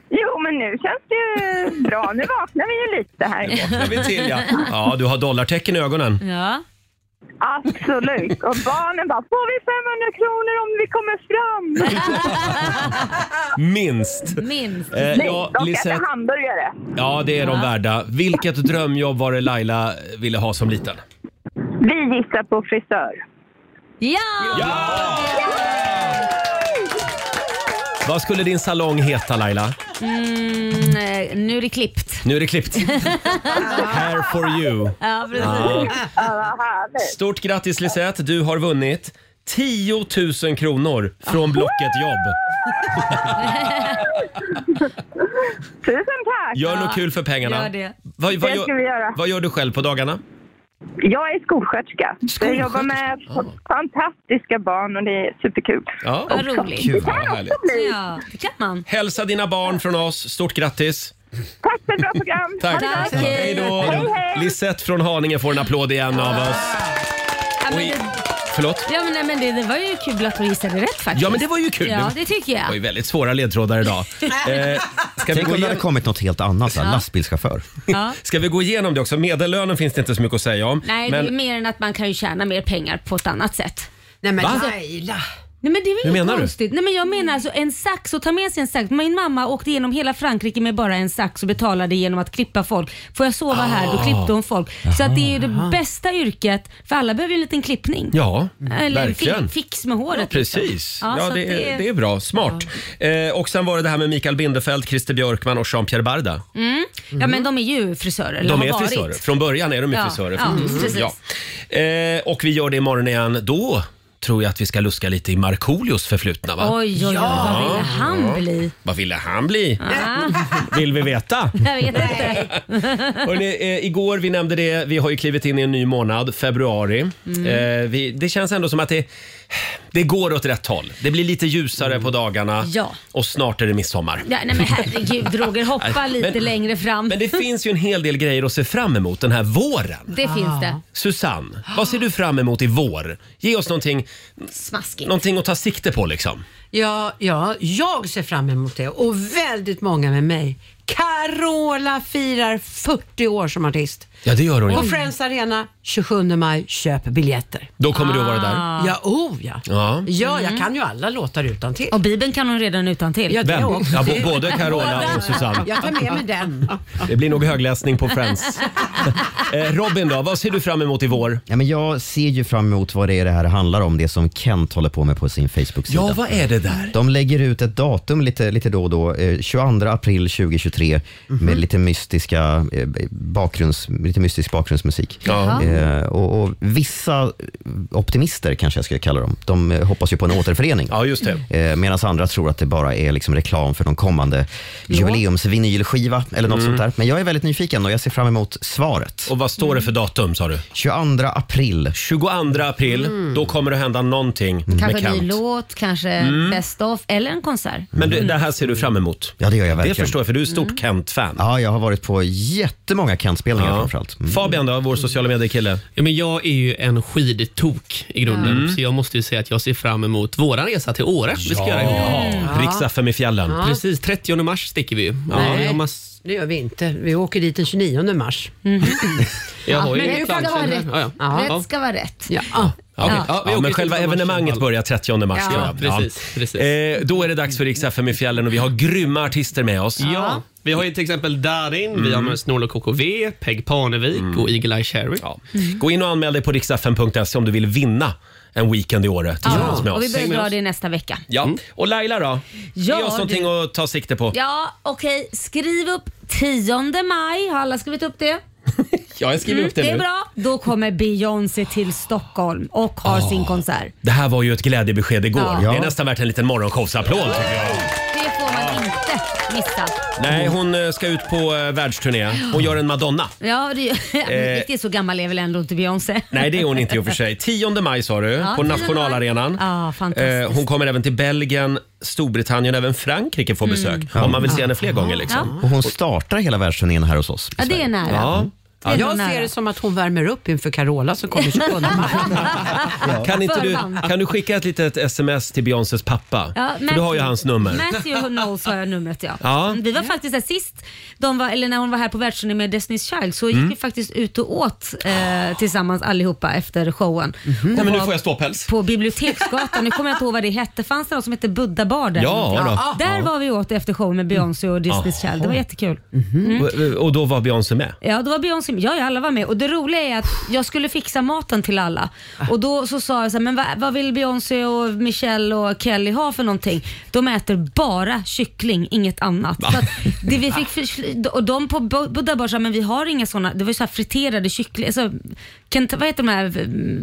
Speaker 13: Jo, men nu känns det ju bra. Nu vaknar vi ju lite här. Nu
Speaker 1: vaknar vi till, ja. Ja, du har dollartecken i ögonen.
Speaker 2: Ja.
Speaker 13: Absolut. Och barnen bara, får vi 500 kronor om vi kommer fram?
Speaker 1: Minst.
Speaker 2: Minst.
Speaker 1: Eh, ja,
Speaker 13: de ska
Speaker 1: Lisette.
Speaker 13: äta hamburgare.
Speaker 1: Ja, det är de
Speaker 13: Ja.
Speaker 1: värda. Vilket drömjobb var det Laila ville ha som liten?
Speaker 13: Vi gissar på frisör.
Speaker 2: Ja!
Speaker 1: Vad skulle din salong heta Laila?
Speaker 2: Mm, eh, nu är det klippt.
Speaker 1: Nu är det klippt. Hair for you.
Speaker 2: Ja, precis.
Speaker 1: Ja.
Speaker 13: Ja, vad härligt.
Speaker 1: Stort grattis Lisette, du har vunnit 10 000 kronor från Blocket Jobb.
Speaker 13: Tusen tack!
Speaker 1: Gör något kul för pengarna.
Speaker 13: Gör det.
Speaker 1: Vad, vad,
Speaker 13: Det ska vi
Speaker 1: gör,
Speaker 13: göra.
Speaker 1: vad gör du själv på dagarna?
Speaker 13: Jag är skolsköterska. Så Jag jobbar med f- fantastiska barn och det är superkul.
Speaker 1: Ja.
Speaker 13: Vad roligt.
Speaker 1: Gud, vad härligt.
Speaker 2: Ja, det kan man.
Speaker 1: Hälsa dina barn från oss. Stort grattis.
Speaker 13: Tack för ett bra program!
Speaker 1: Tack.
Speaker 13: Ha det bra.
Speaker 1: Hej då. Lisette från Haninge får en applåd igen av oss.
Speaker 2: Ja, men,
Speaker 1: Oj.
Speaker 2: det,
Speaker 1: Förlåt?
Speaker 2: ja, men, nej, men det, det var ju kul att du gissade rätt faktiskt.
Speaker 1: Ja, men det var ju kul.
Speaker 2: Ja, det tycker
Speaker 1: Det var ju
Speaker 2: jag.
Speaker 1: väldigt svåra ledtrådar idag. Eh, ska, vi
Speaker 6: Tänk
Speaker 1: gå
Speaker 6: om det
Speaker 1: igenom,
Speaker 6: hade kommit något helt annat, ja.
Speaker 2: Ja.
Speaker 6: lastbilschaufför.
Speaker 2: Ja.
Speaker 1: ska vi gå igenom det också? Medellönen finns det inte så mycket att säga om.
Speaker 2: Nej, det är
Speaker 1: men,
Speaker 2: ju mer än att man kan ju tjäna mer pengar på ett annat sätt.
Speaker 4: Nej men alltså,
Speaker 1: Va?
Speaker 4: Laila.
Speaker 2: Nej men det
Speaker 1: Hur
Speaker 2: är väl
Speaker 1: menar
Speaker 2: inget
Speaker 1: du?
Speaker 2: konstigt. Nej men jag menar alltså en sax och ta med sig en sax. Min mamma åkte genom hela Frankrike med bara en sax och betalade genom att klippa folk. Får jag sova här? Då
Speaker 1: Ah.
Speaker 2: klippte hon folk. Så att det är ju det bästa yrket för alla behöver ju en liten klippning.
Speaker 1: ja,
Speaker 2: Eller en
Speaker 1: verkligen.
Speaker 2: fi- fix med håret.
Speaker 1: Ja, precis.
Speaker 2: liksom.
Speaker 1: Ja,
Speaker 2: så att
Speaker 1: det, är, det är bra. Smart. Eh, och sen var det det här med Mikael Bindefeldt, Christer Björkman och Jean-Pierre Barda.
Speaker 2: Mm. Ja men de är ju frisörer. eller
Speaker 1: De
Speaker 2: har
Speaker 1: är
Speaker 2: varit.
Speaker 1: frisörer. Från början är de ju
Speaker 2: Ja,
Speaker 1: frisörer.
Speaker 2: ja,
Speaker 1: faktiskt.
Speaker 2: precis.
Speaker 1: Eh, och vi gör det imorgon igen. Då tror jag att vi ska luska lite i Markoolios förflutna. Va?
Speaker 2: Oj, oj, oj. Vad ville han bli?
Speaker 1: Vad ville han bli?
Speaker 2: Ah,
Speaker 1: Vill vi veta?
Speaker 2: jag vet inte.
Speaker 1: Hörrni, eh, igår, vi nämnde det, vi har ju klivit in i en ny månad, februari.
Speaker 11: Mm.
Speaker 1: Eh, vi, det känns ändå som att det, det går åt rätt håll. Det blir lite ljusare på dagarna
Speaker 2: Ja.
Speaker 1: och snart är det midsommar.
Speaker 2: Ja, nej men herregud Roger, hoppa
Speaker 1: Nej,
Speaker 2: lite
Speaker 1: men-
Speaker 2: längre fram.
Speaker 1: Men det finns ju en hel del grejer att se fram emot den här våren.
Speaker 2: Det finns det.
Speaker 1: Ah. Susanne, vad ser du fram emot i vår? Ge oss någonting,
Speaker 2: Smaskigt.
Speaker 1: någonting att ta sikte på liksom.
Speaker 4: Ja, ja, jag ser fram emot det och väldigt många med mig. Carola firar 40 år som artist.
Speaker 1: Ja, det gör hon
Speaker 4: På
Speaker 1: ju.
Speaker 4: Friends Arena 27 maj, köp biljetter.
Speaker 1: Då kommer du att vara
Speaker 2: Ah.
Speaker 1: där.
Speaker 4: Ja, oh ja.
Speaker 1: Ja.
Speaker 4: Ja,
Speaker 12: Mm.
Speaker 4: jag kan ju alla låtar utan till.
Speaker 2: Och Bibeln kan hon redan utan till.
Speaker 4: Ja, det
Speaker 1: Vem?
Speaker 4: också.
Speaker 1: Ja, bo- både Carola och Susanne.
Speaker 4: Jag tar med mig den.
Speaker 1: Det blir nog högläsning på Friends. Eh, Robin då, vad ser du fram emot i vår?
Speaker 6: Ja, men jag ser ju fram emot vad det är det här handlar om, det som Kent håller på med på sin Facebook-sida.
Speaker 1: Ja, vad är det där?
Speaker 6: De lägger ut ett datum lite, lite då och då, eh, 22 april 2023,
Speaker 1: Mhm.
Speaker 6: med lite, mystiska, eh, bakgrunds, lite mystisk bakgrundsmusik.
Speaker 11: Jaha.
Speaker 6: Eh, och, och vissa eh, optimister, kanske jag skulle kalla dem, de eh, hoppas ju på en återförening.
Speaker 1: Ja, just
Speaker 6: Eh, Medan andra tror att det bara är liksom reklam för någon kommande jubileumsvinylskiva eller något
Speaker 1: Mm.
Speaker 6: sånt där. Men jag är väldigt nyfiken och jag ser fram emot svaret.
Speaker 1: Och vad står det för datum sa du?
Speaker 6: 22 april.
Speaker 1: 22 april,
Speaker 2: Mm.
Speaker 1: då kommer det hända någonting med
Speaker 2: Kanske en ny
Speaker 1: Kent.
Speaker 2: låt, kanske
Speaker 1: Mm.
Speaker 2: best of eller en konsert.
Speaker 1: Men det, det här ser du fram emot?
Speaker 6: Ja, det gör jag verkligen.
Speaker 1: Det förstår jag, för du är
Speaker 2: Mm.
Speaker 1: stort Kent-fan.
Speaker 6: Ja, jag har varit på jättemånga Kent-spelningar
Speaker 1: Ja.
Speaker 6: framförallt. Mm.
Speaker 1: Fabian då, vår sociala medier-kille?
Speaker 9: Ja, men jag är ju en skidtok i grunden,
Speaker 1: Mm.
Speaker 9: så jag måste ju säga att jag ser fram emot vår resa till Åre. Vi ska göra ihop.
Speaker 1: Mm. Rix FM i fjällen.
Speaker 4: Ja.
Speaker 9: Precis, 30 mars sticker vi ju. Ja,
Speaker 4: Nej.
Speaker 9: jag, mass-
Speaker 4: Det gör vi inte. Vi åker dit den 29 mars.
Speaker 12: Mm.
Speaker 9: jag har ju
Speaker 2: men
Speaker 9: ett
Speaker 2: det ska
Speaker 9: plan.
Speaker 2: vara rätt.
Speaker 9: Ja, ja.
Speaker 2: Rätt
Speaker 9: Ja.
Speaker 2: ska vara rätt.
Speaker 4: Ja.
Speaker 1: Ja, okej.
Speaker 2: Ja.
Speaker 1: ja,
Speaker 9: Ja,
Speaker 1: men själva
Speaker 9: okej, till mars i alla
Speaker 1: evenemanget börjar 30 mars.
Speaker 2: Ja.
Speaker 1: tror jag.
Speaker 9: Precis,
Speaker 1: Eh, då är det dags för Rix FM i fjällen och vi har grymma artister med oss.
Speaker 9: Ja. Vi har ju till exempel Darin, vi har med Snål och KKV, Peg Parnevik och Eagle Eye Cherry.
Speaker 1: Mm. Gå in och anmäl dig på riksfn.se om du vill vinna en weekend i Åre tillsammans med oss.
Speaker 2: Och vi börjar dra det nästa vecka.
Speaker 1: Ja. Och Laila då?
Speaker 2: Ja,
Speaker 1: Ge oss någonting att ta sikte på.
Speaker 2: Ja, okej. Skriv upp 10 maj. Har alla skrivit upp det?
Speaker 1: Ja, jag skriver
Speaker 2: Mm,
Speaker 1: upp det,
Speaker 2: det
Speaker 1: nu.
Speaker 2: är bra. Då kommer Beyoncé till Stockholm och har
Speaker 1: Ja.
Speaker 2: sin konsert.
Speaker 1: Det här var ju ett glädjebesked igår.
Speaker 2: Ja.
Speaker 1: Det är nästan värt en liten morgonshowsapplåd tycker jag.
Speaker 2: Det får man inte missa.
Speaker 1: Nej, hon eh, ska ut på eh, världsturné. Hon gör en Madonna.
Speaker 2: Ja, det,
Speaker 1: Eh.
Speaker 2: riktigt så gammal är väl ändå inte Beyoncé.
Speaker 1: Nej, det är hon inte i och för sig. 10 maj sa du,
Speaker 2: Ja,
Speaker 1: på
Speaker 2: 10 maj.
Speaker 1: nationalarenan.
Speaker 2: Ja, fantastiskt.
Speaker 1: Eh, hon kommer även till Belgien, Storbritannien, även Frankrike får
Speaker 2: Mm.
Speaker 1: besök.
Speaker 6: Ja.
Speaker 1: Om man vill se henne fler gånger liksom.
Speaker 6: Och hon startar hela världsturnén här hos oss. i
Speaker 4: Ja, det är
Speaker 6: Sverige.
Speaker 4: nära.
Speaker 1: Ja.
Speaker 4: jag ser det som att hon värmer upp inför Carola som kommer 27 maj.
Speaker 1: Kan, inte du,
Speaker 2: Förman.
Speaker 1: kan du skicka ett litet sms till Beyoncés pappa?
Speaker 2: Ja,
Speaker 1: För du har ju
Speaker 2: Matthew-
Speaker 1: hans nummer.
Speaker 2: Matthew Knowles har jag numret ja.
Speaker 1: Ja.
Speaker 2: Vi var faktiskt där sist, de var, eller när hon var här på världsturné med Destiny's Child, så
Speaker 1: Mm.
Speaker 2: gick vi faktiskt ut och åt eh, tillsammans allihopa efter showen. Och
Speaker 1: Mhm. Nej, men nu
Speaker 2: var
Speaker 1: får jag ståpäls.
Speaker 2: På Biblioteksgatan, nu kommer jag inte ihåg vad det hette, fanns det något som hette Buddha Bar där?
Speaker 1: Ja, då.
Speaker 2: Där
Speaker 1: Ja.
Speaker 2: var vi åt efter showen med Beyoncé och Destiny's Child, det var jättekul. Mm.
Speaker 1: Och, och då var Beyoncé med?
Speaker 2: Ja, då var Beyoncé med. Ja, ja, alla var med. Och det roliga är att jag skulle fixa maten till alla. Och då så sa jag så här, men vad, vad vill Beyoncé och Michelle och Kelly ha för någonting? De äter bara kyckling, inget annat. Så att det vi fick, för- och de på Bo- Buddha Bar sa, men vi har inga sådana, det var ju så här friterade kyckling, alltså, Kent, vad heter de här?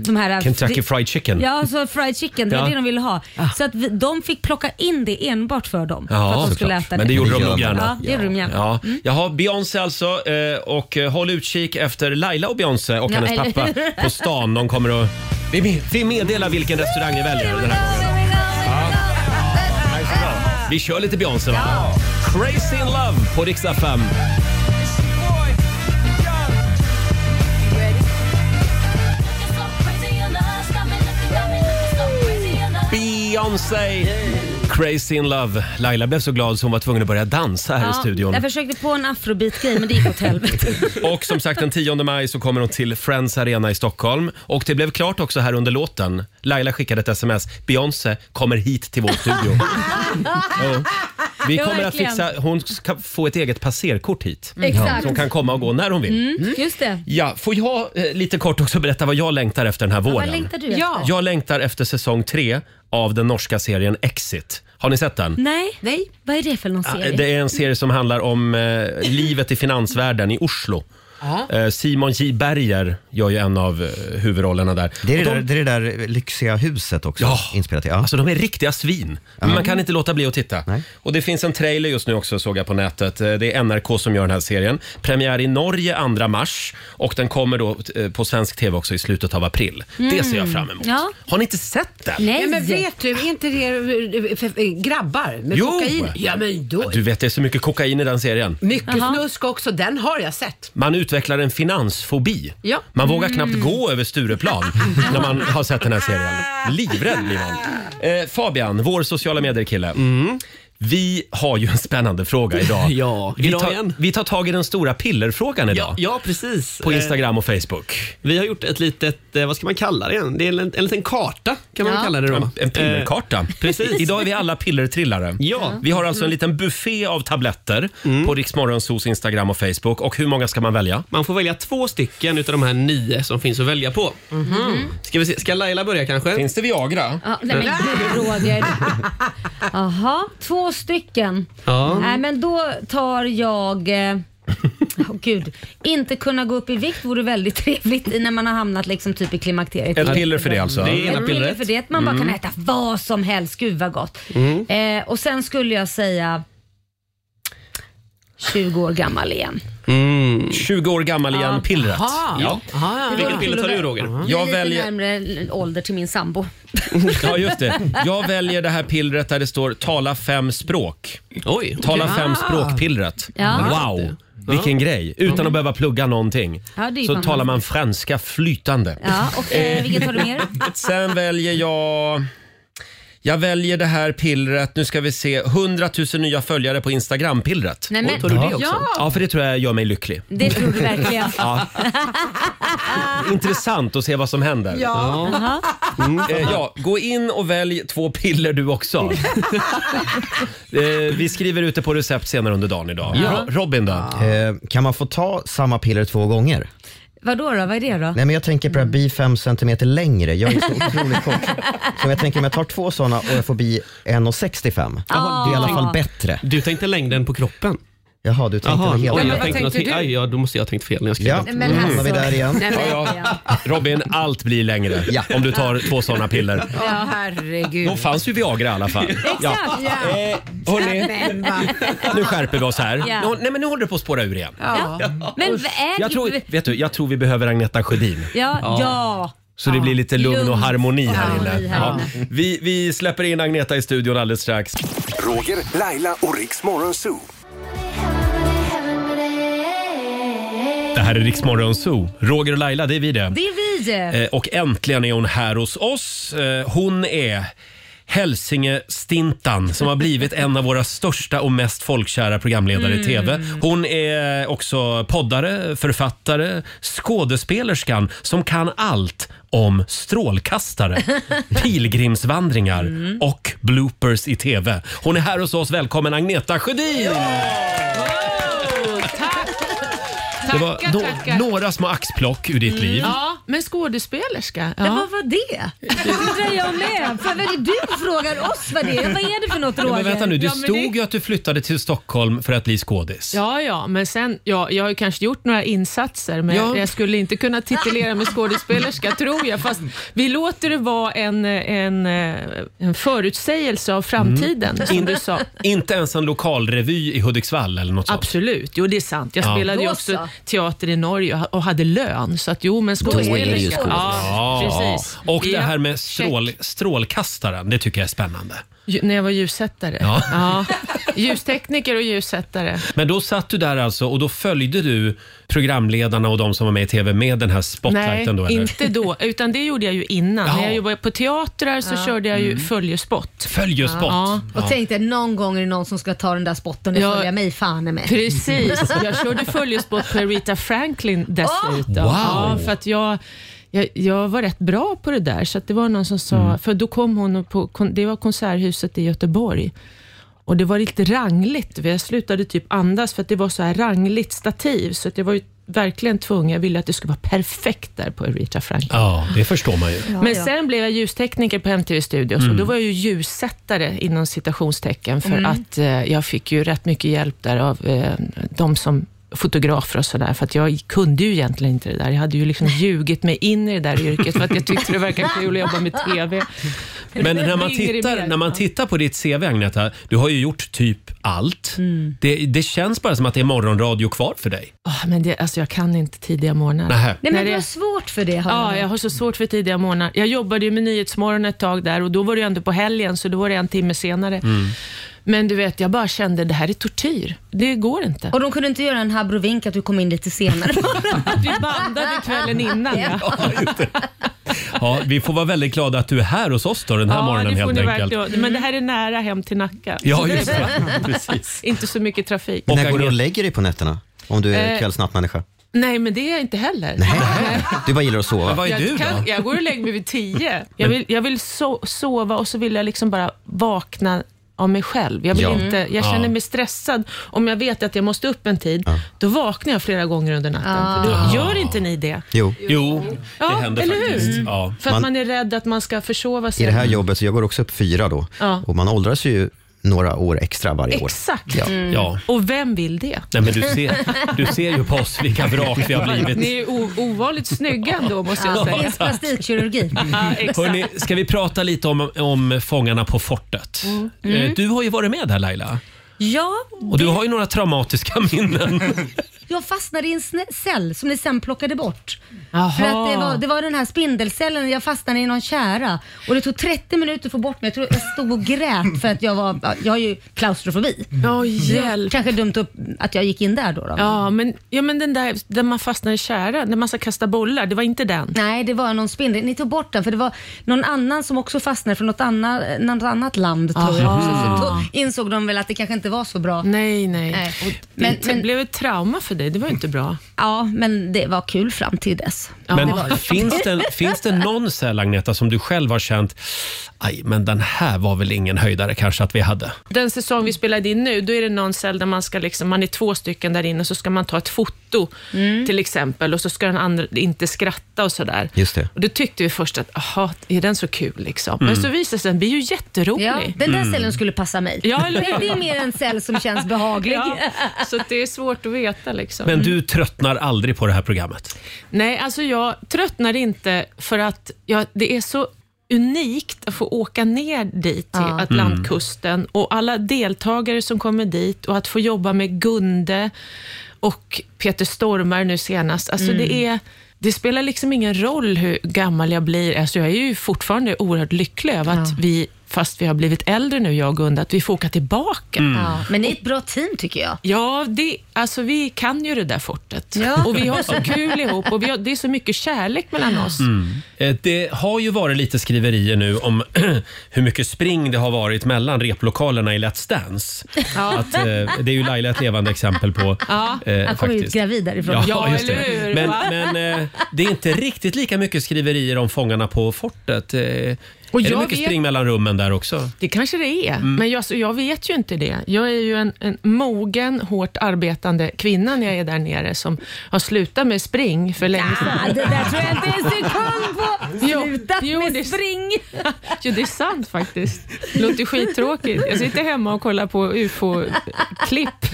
Speaker 2: De här
Speaker 1: Kentucky Fried Chicken.
Speaker 2: Ja, så fried chicken, det var
Speaker 1: Ja. Ah.
Speaker 2: det de ville ha. Så att vi, de fick plocka in det enbart för dem.
Speaker 1: Ja,
Speaker 2: för att de skulle
Speaker 1: såklart.
Speaker 2: äta det.
Speaker 1: Men det gjorde de nog gärna.
Speaker 2: Ja, det gjorde de gärna.
Speaker 1: Ja. Jaha, Beyoncé alltså. eh, Och eh, håll utkik efter Laila och Beyoncé och
Speaker 2: Ja,
Speaker 1: hennes
Speaker 2: eller
Speaker 1: pappa
Speaker 2: hur?
Speaker 1: på stan. De kommer att... Vi, med- vi meddelar vilken restaurang vi väljer den här gången. Ja. Vi kör lite Beyoncé va? Crazy in love på riksdag 5. Beyoncé! Crazy in love. Laila blev så glad så hon var tvungen att börja dansa här i studion. Mm.
Speaker 2: Jag försökte på en afrobeat-grej men det gick åt helvete.
Speaker 1: Och som sagt den 10 maj så kommer hon till Friends Arena i Stockholm. Och det blev klart också här under låten. Laila skickade ett sms. Beyoncé kommer hit till vår studio. Ja. Vi
Speaker 2: Ja,
Speaker 1: kommer att
Speaker 2: verkligen.
Speaker 1: fixa, hon ska få ett eget passerkort hit.
Speaker 2: Mm. Exakt.
Speaker 1: Så hon kan komma och gå när hon vill.
Speaker 2: Mm, just det.
Speaker 1: Ja, får jag eh, lite kort också berätta vad jag längtar efter den här
Speaker 2: Ja,
Speaker 1: våren?
Speaker 2: vad längtar du efter? Ja.
Speaker 1: Jag längtar efter säsong tre av den norska serien Exit. Har ni sett den?
Speaker 2: Nej. Nej. Vad är det för någon
Speaker 1: Ja,
Speaker 2: serie?
Speaker 1: Det är en serie som handlar om eh, livet i finansvärlden i Oslo.
Speaker 2: Ja.
Speaker 1: Eh, Simon J Berger gör ju en av eh, huvudrollerna där.
Speaker 6: Det är det,
Speaker 1: Och
Speaker 6: där, det är det där lyxiga huset också.
Speaker 1: Ja.
Speaker 6: Inspelat i. Ja.
Speaker 1: Alltså de är riktiga svin. Men
Speaker 6: Ja.
Speaker 1: man kan inte låta bli att titta. Och det finns en trailer just nu också såg jag på nätet. Eh, Det är NRK som gör den här serien. Premiär i Norge 2 mars och den kommer då eh, på svensk tv också i slutet av april. Det ser jag fram emot.
Speaker 4: Ja.
Speaker 1: Har ni inte sett den?
Speaker 4: Nej. men vet du, är inte det eh, för- för grabbar med
Speaker 1: Jo.
Speaker 4: kokain? Ja men då.
Speaker 1: Du vet det är så mycket kokain i den serien.
Speaker 4: Mycket snusk också, den har jag sett.
Speaker 1: Man utvecklar en finansfobi.
Speaker 4: Ja.
Speaker 1: Man vågar
Speaker 4: Mm.
Speaker 1: knappt gå över Stureplan när man har sett den här serien. Livrädd blir man. Eh, Fabian, vår sociala medier-kille. Vi har ju en spännande fråga idag.
Speaker 9: Mm. Ja,
Speaker 1: vi,
Speaker 9: idag
Speaker 1: tar,
Speaker 9: igen.
Speaker 1: vi tar tag i den stora pillerfrågan idag.
Speaker 9: Ja, ja, precis.
Speaker 1: På
Speaker 9: Eh,
Speaker 1: Instagram och Facebook.
Speaker 9: Vi har gjort ett litet, eh, vad ska man kalla det igen? Det är en, en liten karta kan man
Speaker 1: Ja.
Speaker 9: kalla det då.
Speaker 1: En- en pillerkarta.
Speaker 9: Eh, precis.
Speaker 1: Idag är vi alla pillertrillare.
Speaker 9: Ja. Mm.
Speaker 1: Vi har alltså en liten buffé av tabletter på Riksmorgonsos Instagram och Facebook. Och hur många ska man välja?
Speaker 9: Man får välja två stycken utav de här nio som finns att välja på. Ska, vi se, ska Laila börja kanske?
Speaker 1: Finns det Viagra?
Speaker 2: Ja, nej men gud Roger. Jaha, två stycken.
Speaker 9: Ja.
Speaker 2: Nej men då tar jag... eh, Åh gud, inte kunna gå upp i vikt vore väldigt trevligt i när man har hamnat liksom typ i klimakteriet.
Speaker 1: Ett piller för det alltså?
Speaker 9: Det är ena
Speaker 2: Ett piller
Speaker 9: pillret.
Speaker 2: för det, att man bara
Speaker 9: Mm.
Speaker 2: kan äta vad som helst. Gud vad gott.
Speaker 9: Mm.
Speaker 2: Eh, och sen skulle jag säga 20 år gammal igen.
Speaker 1: 20 år gammal
Speaker 9: Ah.
Speaker 1: igen, pillret.
Speaker 2: Jaha.
Speaker 1: Ja.
Speaker 2: Jaha, ja.
Speaker 1: Vilket piller tar du
Speaker 9: Roger?
Speaker 2: Jag
Speaker 1: Jag
Speaker 2: lite
Speaker 1: väljer,
Speaker 2: närmre ålder till min sambo.
Speaker 1: ja, just det. jag väljer det här pillret där det står tala fem språk.
Speaker 9: Oj.
Speaker 1: Tala
Speaker 2: Okej.
Speaker 1: fem
Speaker 2: Ah.
Speaker 1: språk-pillret.
Speaker 2: Ja.
Speaker 1: Wow! Vilken grej, utan att behöva plugga någonting.
Speaker 2: Ja, det är ju
Speaker 1: så
Speaker 2: fantastiskt.
Speaker 1: talar man franska flytande.
Speaker 2: Ja, och eh, vilket tar du mer?
Speaker 1: Sen väljer jag... Jag väljer det här pillret. Nu ska vi se. 100 000 nya följare på Instagram-pillret.
Speaker 2: Nej, men- Oj, tar du det
Speaker 1: ja.
Speaker 2: också? Ja.
Speaker 1: Ja, för det tror jag gör mig lycklig.
Speaker 2: Det tror du verkligen.
Speaker 1: Ja. Intressant att se vad som händer.
Speaker 2: Jaha.
Speaker 1: Mm. Eh, ja, gå in och välj två piller du också. eh, vi skriver ut det på recept senare under dagen idag.
Speaker 6: Ja.
Speaker 1: Ro- Robin då?
Speaker 6: Eh, kan man få ta samma piller två gånger?
Speaker 2: Vadå då? Vad är det då?
Speaker 6: Nej, men jag tänker på det här bi fem centimeter längre. Jag är så otroligt kort. Så jag tänker om jag tar två sådana och jag får bi 1,65.
Speaker 2: Jaha,
Speaker 6: Det är i alla
Speaker 2: du tänk-
Speaker 6: fall bättre.
Speaker 9: Du tänkte längden på kroppen?
Speaker 6: Jaha, du tänkte
Speaker 9: Jaha,
Speaker 6: helt...
Speaker 9: oj, jag tänkte något, aj, ja, då måste jag ha tänkt fel när jag skrev
Speaker 6: Ja,
Speaker 9: det.
Speaker 6: Men då hamnar alltså. vi där igen. Nej, men-
Speaker 1: Ja, ja. Robin, allt blir längre om du tar två sådana piller.
Speaker 4: Ja, herregud.
Speaker 1: Då fanns ju Viagra i alla fall.
Speaker 4: Exakt, ja.
Speaker 1: Eh, hörni,
Speaker 2: Men va?
Speaker 1: nu skärper vi oss här.
Speaker 2: Ja.
Speaker 1: Nu, nej, men nu håller det på att spåra ur igen.
Speaker 2: Ja. Men vad är
Speaker 1: Jag tror, vet du, jag tror vi behöver Agneta Sjödin.
Speaker 2: Ja, ja.
Speaker 1: Så det blir lite lugn, och harmoni här
Speaker 2: och
Speaker 1: inne.
Speaker 2: harmoni här
Speaker 1: Ja. Vi, vi släpper in Agneta i studion alldeles strax.
Speaker 3: Roger, Laila och Riks Morgonzoo.
Speaker 1: Det här är Riksmorgon Zoo. Roger och Laila, det är vi det.
Speaker 2: Det är vi.
Speaker 1: Eh, Och äntligen är hon här hos oss. Eh, Hon är Hälsinge-Stintan som har blivit en av våra största och mest folkkära programledare i
Speaker 14: Mm.
Speaker 1: TV. Hon är också poddare, författare, skådespelerskan som kan allt om strålkastare, pilgrimsvandringar
Speaker 7: Mm.
Speaker 1: och bloopers i TV. Hon är här hos oss. Välkommen Agneta Sjödin!
Speaker 7: Tack!
Speaker 1: Det var
Speaker 7: Tackar,
Speaker 1: no-
Speaker 7: tackar. Mm.
Speaker 1: några små axplock ur ditt liv.
Speaker 7: Ja, men skådespelerska.
Speaker 2: Men vad var det? Det undrar jag med. För vad är det du frågar oss vad det är? Vad är det för något
Speaker 1: Ja,
Speaker 2: Roger?
Speaker 1: men vänta nu, det
Speaker 7: Ja, men det-
Speaker 1: stod ju att du flyttade till Stockholm för att bli skådis.
Speaker 7: Ja, ja, men sen, ja, jag har ju kanske gjort några insatser, men
Speaker 1: Ja.
Speaker 7: jag skulle inte kunna titulera mig skådespelerska, tror jag. Fast vi låter det vara en, en, eh, en förutsägelse av framtiden, som du sa.
Speaker 1: Inte ens en lokalrevy i Hudiksvall eller något sånt.
Speaker 7: Absolut, jo det är sant. Jag
Speaker 1: Ja.
Speaker 7: spelade ju
Speaker 1: Då
Speaker 7: också
Speaker 1: så.
Speaker 7: teater i Norge och hade lön, så att jo, men skådespelerska. Ja, precis.
Speaker 1: Och det
Speaker 7: Ja,
Speaker 1: här med
Speaker 7: check.
Speaker 1: strål, strålkastaren, det tycker jag är spännande.
Speaker 7: Ju- När jag var ljussättare.
Speaker 1: Ja.
Speaker 7: Ja. Ljustekniker och ljussättare.
Speaker 1: Men då satt du där alltså och då följde du programledarna och de som var med i TV med den här spotlighten då?
Speaker 7: Nej,
Speaker 1: Eller?
Speaker 7: inte då. Utan det gjorde jag ju innan.
Speaker 1: Ja.
Speaker 7: När jag jobbade på teatrar så
Speaker 2: Ja.
Speaker 7: körde jag ju
Speaker 1: Mm.
Speaker 7: följespott.
Speaker 1: Följespott?
Speaker 7: Ja.
Speaker 2: Och tänkte någon gång är det någon som ska ta den där spotten och
Speaker 7: Ja.
Speaker 2: följa mig fan i mig.
Speaker 7: Precis. Jag körde följespott på Rita Franklin dessutom.
Speaker 2: Wow.
Speaker 7: Ja, för att jag, jag, jag var rätt bra på det där, så att det var någon som sa... För då kom hon och på, kon- det var Konserthuset i Göteborg. Och Det var lite rangligt. Jag slutade typ andas för att det var så här rangligt stativ. Så att jag var ju verkligen tvungen. Jag ville att det skulle vara perfekt där på Rita Franklin.
Speaker 1: Ja, det förstår man ju.
Speaker 7: Men sen blev jag ljustekniker på MTV Studios
Speaker 1: Mm.
Speaker 7: och då var jag ju ljussättare inom citationstecken för
Speaker 1: Mm.
Speaker 7: att eh, jag fick ju rätt mycket hjälp där av eh, de som fotografer och sådär, för att jag kunde ju egentligen inte det där. Jag hade ju liksom ljugit mig in i det där yrket för att jag tyckte det verkade kul att jobba med TV.
Speaker 1: Men när man,
Speaker 7: Ringer i
Speaker 1: tittar,
Speaker 7: mer.
Speaker 1: när man tittar på ditt CV Agneta, du har ju gjort typ allt.
Speaker 7: Mm.
Speaker 1: Det, det känns bara som att det är morgonradio kvar för dig.
Speaker 7: Ah, men det, alltså jag kan inte tidiga morgnar.
Speaker 1: Nähä. Nej, men
Speaker 7: När
Speaker 1: du
Speaker 7: det-
Speaker 1: har
Speaker 2: svårt för det.
Speaker 7: Ja,
Speaker 2: jag.
Speaker 7: jag har så svårt för tidiga morgnar. Jag jobbade ju med Nyhetsmorgon ett tag där och då var det ju ändå på helgen, så då var det en timme senare. Men du vet, jag bara kände det här är tortyr. Det går inte.
Speaker 2: Och de kunde inte göra en habrovink att du kom in lite senare.
Speaker 7: Vi bandade kvällen innan. Ja.
Speaker 1: Ja, vi får vara väldigt glada att du är här hos oss då, den här
Speaker 7: Ja,
Speaker 1: morgonen
Speaker 7: det får
Speaker 1: helt
Speaker 7: ni
Speaker 1: enkelt.
Speaker 7: verkligen. Men det här är nära hem till Nacka.
Speaker 1: Ja, just det. Precis.
Speaker 7: inte så mycket trafik.
Speaker 6: När går du och lägger dig på nätterna? Om du är
Speaker 7: Eh,
Speaker 6: kvällsnattmänniska?
Speaker 7: Nej, men det är jag inte heller.
Speaker 6: Du bara gillar att sova.
Speaker 7: jag, kan- jag går och lägger mig vid tio. Jag vill, jag vill so sova och så vill jag liksom bara vakna av mig själv. Jag, vill
Speaker 15: Ja.
Speaker 7: inte, jag känner
Speaker 15: Ja.
Speaker 7: mig stressad. Om jag vet att jag måste upp en tid, då vaknar jag flera gånger under natten.
Speaker 15: Ah.
Speaker 7: För
Speaker 15: Ah.
Speaker 7: då gör inte ni det?
Speaker 6: Jo.
Speaker 1: Jo, det
Speaker 7: Ja,
Speaker 1: händer
Speaker 7: eller
Speaker 1: faktiskt.
Speaker 7: hur?
Speaker 1: Ja.
Speaker 7: För att man,
Speaker 6: Man-
Speaker 7: är rädd att man ska försova sig.
Speaker 6: I det här jobbet, så jag går också upp fyra då.
Speaker 7: Ja.
Speaker 6: Och man åldras ju några år extra varje år.
Speaker 7: Exakt.
Speaker 6: Ja.
Speaker 7: Mm.
Speaker 1: Ja.
Speaker 7: Och vem vill det?
Speaker 1: Nej, men du ser, du ser ju på oss vilka vrak vi har
Speaker 7: Ni är
Speaker 1: blivit.
Speaker 7: ju o- ovanligt snygga ändå, måste jag
Speaker 1: Ja,
Speaker 7: säga.
Speaker 1: tack.
Speaker 2: Plastikkirurgi.
Speaker 7: Ja, exakt.
Speaker 1: Hörrni, ska vi prata lite om, om Fångarna på fortet?
Speaker 2: Mm.
Speaker 1: Eh,
Speaker 2: Mm.
Speaker 1: Du har ju varit med där Laila.
Speaker 2: Ja,
Speaker 1: Och du har ju några traumatiska minnen.
Speaker 2: jag fastnade i en sne- cell som ni sen plockade bort.
Speaker 7: Jaha.
Speaker 2: För att det var, det var den här spindelcellen, jag fastnade i någon kära och det tog 30 minuter att få bort mig. Jag tror jag stod och grät för att jag var, ja, jag har ju klaustrofobi.
Speaker 7: Ja, hjälp.
Speaker 2: Kanske dumt upp att jag gick in där då. då.
Speaker 7: Ja, men, ja, men den där där man fastnar i kära, när man ska kasta bollar, det var inte den.
Speaker 2: Nej, det var någon spindel. Ni tog bort den för det var någon annan som också fastnade från något annat, något annat land tror jag. också.
Speaker 7: Aha.
Speaker 2: Så då insåg de väl att det kanske inte var så bra.
Speaker 7: Nej, nej.
Speaker 2: nej.
Speaker 7: Men, det blev ett trauma för dig, det var ju inte bra.
Speaker 2: Ja, men det var kul fram till dess.
Speaker 1: Men
Speaker 2: det var
Speaker 1: finns, det, finns det någon cell, Agneta, som du själv har känt, aj, men den här var väl ingen höjdare kanske att vi hade?
Speaker 7: Den säsong vi spelade in nu, då är det någon cell där man ska liksom, man är två stycken där inne, så ska man ta ett foto
Speaker 6: Mm.
Speaker 7: till exempel och så ska den andra inte skratta och sådär.
Speaker 6: Just det.
Speaker 7: Och då tyckte vi först att, jaha, är den så kul liksom? Men
Speaker 6: Mm.
Speaker 7: så visade det sig, den blir ju jätterolig.
Speaker 2: Ja, den där
Speaker 7: Mm.
Speaker 2: cellen skulle passa mig.
Speaker 7: Ja, eller
Speaker 2: det,
Speaker 7: hur?
Speaker 2: det är mer en cell som känns behaglig.
Speaker 7: Ja, så att det är svårt att veta liksom.
Speaker 1: Men du tröttnar aldrig på det här programmet.
Speaker 7: Nej, alltså jag tröttnar inte för att jag, det är så unikt att få åka ner dit till
Speaker 14: Ja.
Speaker 7: Atlantkusten och alla deltagare som kommer dit och att få jobba med Gunde och Peter Stormare nu senast. Alltså
Speaker 14: Mm.
Speaker 7: det, är, det spelar liksom ingen roll hur gammal jag blir. Alltså jag är ju fortfarande oerhört lycklig över att vi, fast vi har blivit äldre nu, jag och Gunde, att vi får åka tillbaka.
Speaker 2: Mm. Ja, men ni är ett bra team tycker jag.
Speaker 7: Ja, det, alltså vi kan ju det där fortet.
Speaker 2: Ja.
Speaker 7: Och vi har så kul ihop och vi har, det är så mycket kärlek mellan oss.
Speaker 1: Eh, Det har ju varit lite skriverier nu om hur mycket spring det har varit mellan replokalerna i Let's Dance.
Speaker 7: Ja.
Speaker 1: Att, eh, det är ju Laila ett levande exempel på.
Speaker 2: Ja,
Speaker 1: eh,
Speaker 2: han kom ut
Speaker 1: faktiskt.
Speaker 2: gravid därifrån.
Speaker 1: Ja, just det. Men,
Speaker 2: va?
Speaker 1: men eh, det är inte riktigt lika mycket skriverier om Fångarna på fortet. Eh,
Speaker 7: Och
Speaker 1: är det
Speaker 7: jag
Speaker 1: mycket
Speaker 7: vet-
Speaker 1: spring mellan rummen där också?
Speaker 7: Det kanske det är,
Speaker 1: Mm.
Speaker 7: men jag, så jag vet ju inte det. Jag är ju en, en mogen, hårt arbetande kvinna när jag är där nere som har slutat med spring för länge sedan.
Speaker 2: det där tror jag inte en sekund på. Sluta med spring!
Speaker 7: jo, det är sant faktiskt. Det låter ju skittråkigt. Jag sitter hemma och kollar på ufo-klipp.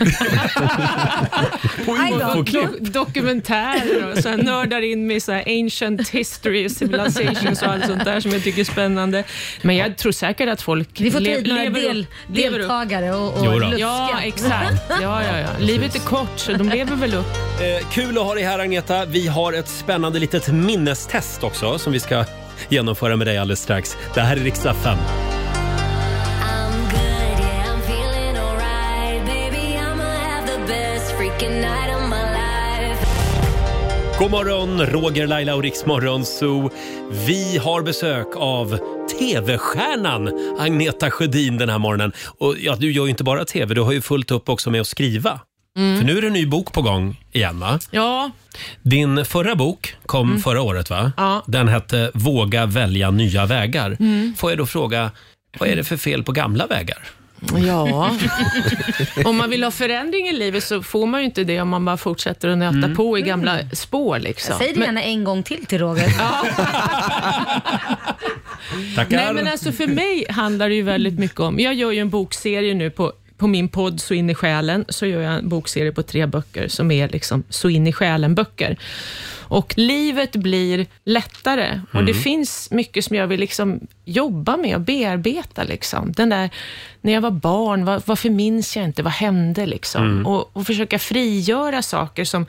Speaker 1: På UFO-klipp?
Speaker 7: Do- Dokumentärer och så här nördar in mig i så här ancient history, civilizations och allt sånt där som jag tycker är spännande. Men jag tror säkert att folk
Speaker 2: Vi får
Speaker 7: le-
Speaker 2: tid några
Speaker 7: lever
Speaker 2: del,
Speaker 7: upp- lever upp.
Speaker 2: deltagare och, och
Speaker 1: Jo då.
Speaker 7: Ja, exakt. Ja, ja, ja. Livet är kort, så de lever väl upp.
Speaker 1: Eh, kul att ha dig här Agneta. Vi har ett spännande litet minnestest också som vi ska genomföra med dig alldeles strax. Det här är riksdag
Speaker 11: I'm
Speaker 1: 5.
Speaker 11: good, yeah, I'm feeling alright. Baby, I'ma have the best freaking night of my life.
Speaker 1: God morgon, Roger, Laila och Riksmorgon Zoo. Vi har besök av TV-stjärnan Agneta Sjödin den här morgonen. Och ja, du gör ju inte bara TV, du har ju fullt upp också med att skriva.
Speaker 7: Mm.
Speaker 1: För nu är det en ny bok på gång igen va?
Speaker 7: Ja,
Speaker 1: Din förra bok kom
Speaker 7: Mm.
Speaker 1: förra året va?
Speaker 7: Ja.
Speaker 1: Den hette Våga välja nya vägar.
Speaker 7: Mm.
Speaker 1: Får jag då fråga, vad är det för fel på gamla vägar?
Speaker 7: Ja. om man vill ha förändring i livet så får man ju inte det om man bara fortsätter att nöta
Speaker 1: Mm.
Speaker 7: på i gamla spår. Liksom.
Speaker 2: Säg det
Speaker 7: Men-
Speaker 2: gärna en gång till till Roger.
Speaker 1: Tackar.
Speaker 7: Nej, men alltså för mig handlar det ju väldigt mycket om... Jag gör ju en bokserie nu på, på min podd Så in i själen, så gör jag en bokserie på tre böcker som är liksom Så in i själen-böcker. Och livet blir lättare och det
Speaker 14: Mm.
Speaker 7: finns mycket som jag vill liksom jobba med och bearbeta. Liksom. Den där, när jag var barn, var, varför minns jag inte? Vad hände? Liksom?
Speaker 14: Mm.
Speaker 7: Och, och försöka frigöra saker som...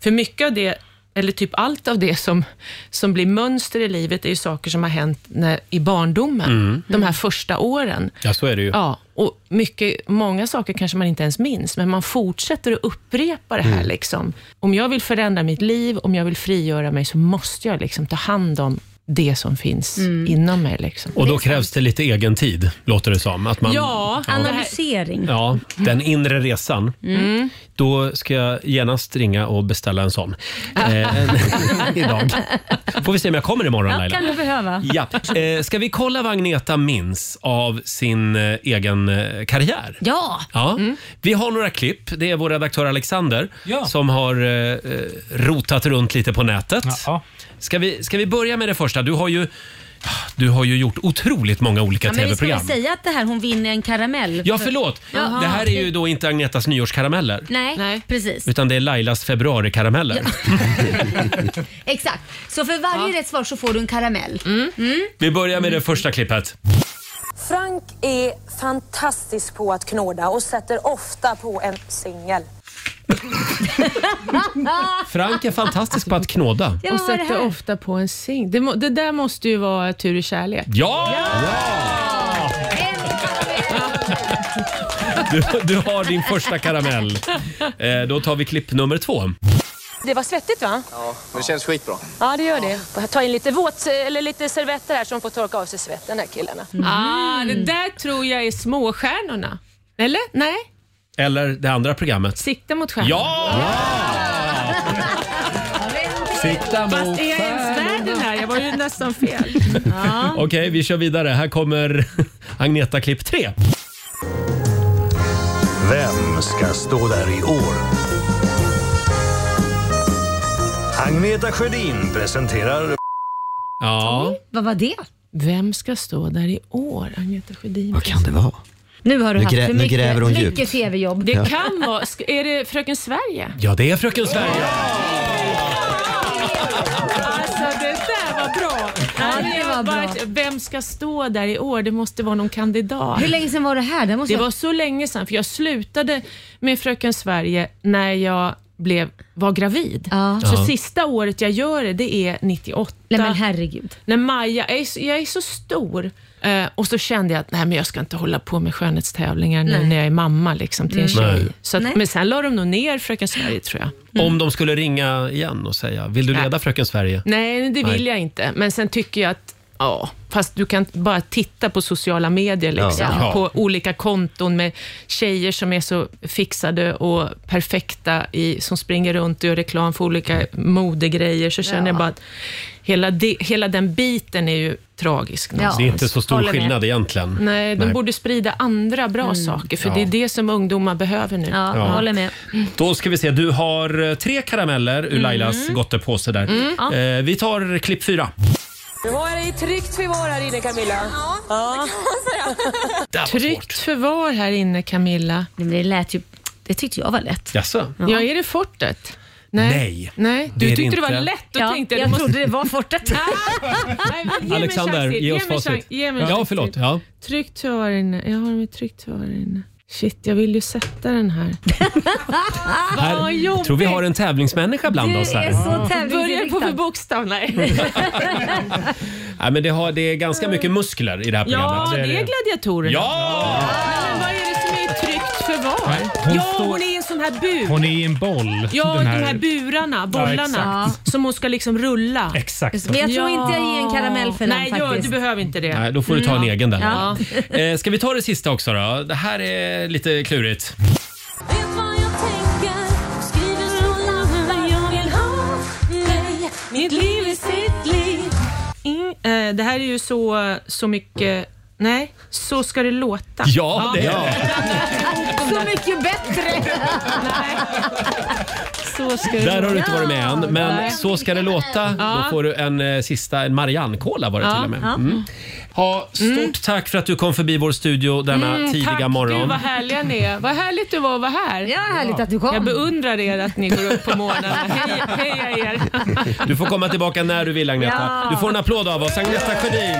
Speaker 7: För mycket av det eller typ allt av det som, som blir mönster i livet är ju saker som har hänt när, i barndomen,
Speaker 1: Mm.
Speaker 7: de här första åren.
Speaker 1: Ja, så är det ju.
Speaker 7: Ja, och mycket, många saker kanske man inte ens minns, men man fortsätter att upprepa det här.
Speaker 1: Mm.
Speaker 7: Liksom. Om jag vill förändra mitt liv, om jag vill frigöra mig, så måste jag liksom ta hand om det som finns inom mig. Liksom.
Speaker 1: Och då krävs det lite egen tid, låter det som. Att man,
Speaker 7: ja,
Speaker 2: analysering.
Speaker 1: Ja, den inre resan.
Speaker 7: Mm.
Speaker 1: Då ska jag genast ringa och beställa en sån. Eh, en, idag. Får vi se om jag kommer imorgon
Speaker 2: Ja,
Speaker 1: Laila.
Speaker 2: kan du behöva.
Speaker 1: Ja. Eh, ska vi kolla vad Agneta minns av sin eh, egen eh, karriär?
Speaker 2: Ja.
Speaker 1: Ja.
Speaker 2: Mm.
Speaker 1: Vi har några klipp. Det är vår redaktör Alexander som har eh, eh, rotat runt lite på nätet. Ska vi, ska vi börja med det första? Du har ju, du har ju gjort otroligt många olika
Speaker 2: Ja, men vi ska
Speaker 1: tv-program.
Speaker 2: väl säga att det här hon vinner en karamell.
Speaker 1: Ja, förlåt.
Speaker 2: Jaha.
Speaker 1: Det här är ju då inte Agnetas nyårskarameller.
Speaker 2: Nej, precis.
Speaker 1: Utan det är Lailas februarikarameller.
Speaker 2: Exakt. Så för varje rätt svar så får du en karamell. Mm.
Speaker 1: Vi börjar med det första klippet.
Speaker 15: Frank är fantastisk på att knåda och sätter ofta på en singel.
Speaker 1: Frank är fantastisk på att knåda.
Speaker 7: och sätter ofta på en sing. Det, må, det där måste ju vara tur i kärlek.
Speaker 1: Ja! Du, du har din första karamell. Eh, då tar vi klipp nummer två.
Speaker 15: Det var svettigt va?
Speaker 16: Ja, men det känns skitbra.
Speaker 15: Ja, det gör det. Jag tar in lite våt, eller lite servetter här som får torka av sig svetten här killarna.
Speaker 7: Ah, det där tror jag är småstjärnorna. Eller? Nej?
Speaker 1: Eller det andra programmet.
Speaker 7: Sikta mot stjärnorna.
Speaker 1: Ja! Sikta mot
Speaker 7: Fast är jag ens värd den här? Jag var ju nästan fel. Ja.
Speaker 1: Okej, vi kör vidare. Här kommer Agneta klipp 3.
Speaker 14: Vem ska stå där i år? Agneta Sjödin presenterar...
Speaker 1: Ja.
Speaker 2: Vad var det?
Speaker 7: Vem ska stå där i år? Agneta Sjödin. Vad
Speaker 6: kan det vara?
Speaker 2: Nu har du
Speaker 6: Nu
Speaker 2: haft
Speaker 6: grä-
Speaker 2: för
Speaker 6: nu
Speaker 2: mycket,
Speaker 6: gräver hon djupt.
Speaker 2: mycket tv-jobb.
Speaker 7: Det kan vara... sk- Är det Fröken Sverige?
Speaker 1: Ja, det är Fröken Sverige.
Speaker 7: Alltså det där var bra.
Speaker 2: Ja, det
Speaker 7: Nej, jag
Speaker 2: var
Speaker 7: bara-
Speaker 2: bra.
Speaker 7: Vem ska stå där i år? Det måste vara någon kandidat.
Speaker 2: Hur länge sedan var det här? Det, måste
Speaker 7: Det var så länge sedan, för jag slutade med Fröken Sverige när jag blev, var gravid. Så
Speaker 2: Ja.
Speaker 7: sista året jag gör det, det är 98.
Speaker 2: Nej, men herregud.
Speaker 7: När Maja, jag är, så- jag är så stor eh, och så kände jag att nej, men jag ska inte hålla på med skönhetstävlingar nu
Speaker 2: Nej.
Speaker 7: när jag är mamma liksom, till en
Speaker 1: Mm. Nej.
Speaker 7: tjej. Så att,
Speaker 1: Nej.
Speaker 7: men sen la de nog ner Fröken Mm. Sverige tror jag.
Speaker 1: Om de skulle ringa igen och säga, vill du leda Fröken Sverige?
Speaker 7: Nej, det vill
Speaker 1: Nej.
Speaker 7: jag inte. Men sen tycker jag att, ja, fast du kan bara titta på sociala medier, liksom,
Speaker 1: Ja. Ja.
Speaker 7: på olika konton med tjejer som är så fixade och perfekta, i, som springer runt och gör reklam för olika modegrejer, så känner
Speaker 2: Ja.
Speaker 7: jag bara att hela, de, hela den biten är ju tragisk.
Speaker 1: Det är inte så stor
Speaker 7: Håller med.
Speaker 1: skillnad egentligen.
Speaker 7: Nej, de
Speaker 1: Nej.
Speaker 7: borde sprida andra
Speaker 15: Mm.
Speaker 7: bra saker, för
Speaker 1: Ja.
Speaker 7: det är det som ungdomar behöver nu.
Speaker 1: Ja. håller
Speaker 2: med.
Speaker 1: Då ska vi se, du har eh, tre karameller ur
Speaker 15: Mm.
Speaker 1: Lailas gottepåse där.
Speaker 15: Mm. Ja.
Speaker 1: Eh, vi tar klipp fyra.
Speaker 15: Nu var det i tryggt förvar här inne Camilla. Ja, det kan man säga.
Speaker 7: Tryggt förvar här inne, Camilla.
Speaker 2: det lät ju... Det tyckte jag var lätt.
Speaker 1: Jaså?
Speaker 7: Ja, är det fortet?
Speaker 1: Nej.
Speaker 7: Nej. Du
Speaker 1: Det är det
Speaker 7: tyckte det
Speaker 1: inte.
Speaker 7: var lätt och
Speaker 2: Ja,
Speaker 7: tänkte...
Speaker 2: jag trodde det var fortet.
Speaker 1: Alexander, ge oss facit. Ja, förlåt. Ja.
Speaker 7: Tryggt förvar inne. Jag har mitt tryggt förvar inne. Shit, jag vill ju sätta den här.
Speaker 1: Här, tror vi har en tävlingsmänniska bland oss här.
Speaker 7: Börjar på för bokstav? Nej.
Speaker 1: Nej, men det, har, det är ganska mycket muskler i det här
Speaker 7: ja,
Speaker 1: programmet.
Speaker 7: det är gladiatorerna.
Speaker 1: Ja!
Speaker 7: Men vad är det som är tryggt
Speaker 16: Nej,
Speaker 7: förvar?
Speaker 16: hon
Speaker 7: ja,
Speaker 16: står-
Speaker 7: hon är i en sån här bur.
Speaker 16: Hon är i en boll.
Speaker 7: Ja,
Speaker 16: den
Speaker 7: de
Speaker 16: här...
Speaker 7: här burarna, bollarna,
Speaker 16: Ja,
Speaker 7: som hon ska liksom rulla.
Speaker 16: Exakt.
Speaker 2: Men jag tror inte jag ger en karamell för den
Speaker 7: Nej, gör-
Speaker 2: faktiskt.
Speaker 7: du behöver inte det.
Speaker 1: Nej, då får du ta en
Speaker 7: Mm.
Speaker 1: egen där.
Speaker 7: Ja.
Speaker 1: Eh, ska vi ta det sista också då? Det här är lite klurigt.
Speaker 7: Mitt liv är sitt liv. In, eh, det här är ju så, så mycket... Nej, så ska det låta.
Speaker 1: Ja, det är
Speaker 2: Så mycket bättre!
Speaker 7: Så ska det
Speaker 1: Där har du inte
Speaker 7: låta.
Speaker 1: varit med än, men
Speaker 7: Nej.
Speaker 1: så ska det låta.
Speaker 7: Ja.
Speaker 1: Då får du en eh, sista, en Marianne-cola var det
Speaker 7: Ja,
Speaker 1: till och med.
Speaker 7: ja.
Speaker 1: Mm. Ha, stort tack för att du kom förbi vår studio denna
Speaker 7: Mm,
Speaker 1: tidiga
Speaker 7: tack,
Speaker 1: morgon.
Speaker 7: Gud vad härliga ni är. Vad härligt det var att vara här. Ja,
Speaker 2: härligt att du kom.
Speaker 7: Jag beundrar er att ni går upp på morgnarna. Hej, heja er.
Speaker 1: Du får komma tillbaka när du vill Agneta.
Speaker 7: Ja.
Speaker 1: Du får en applåd av oss, Agneta Sjödin.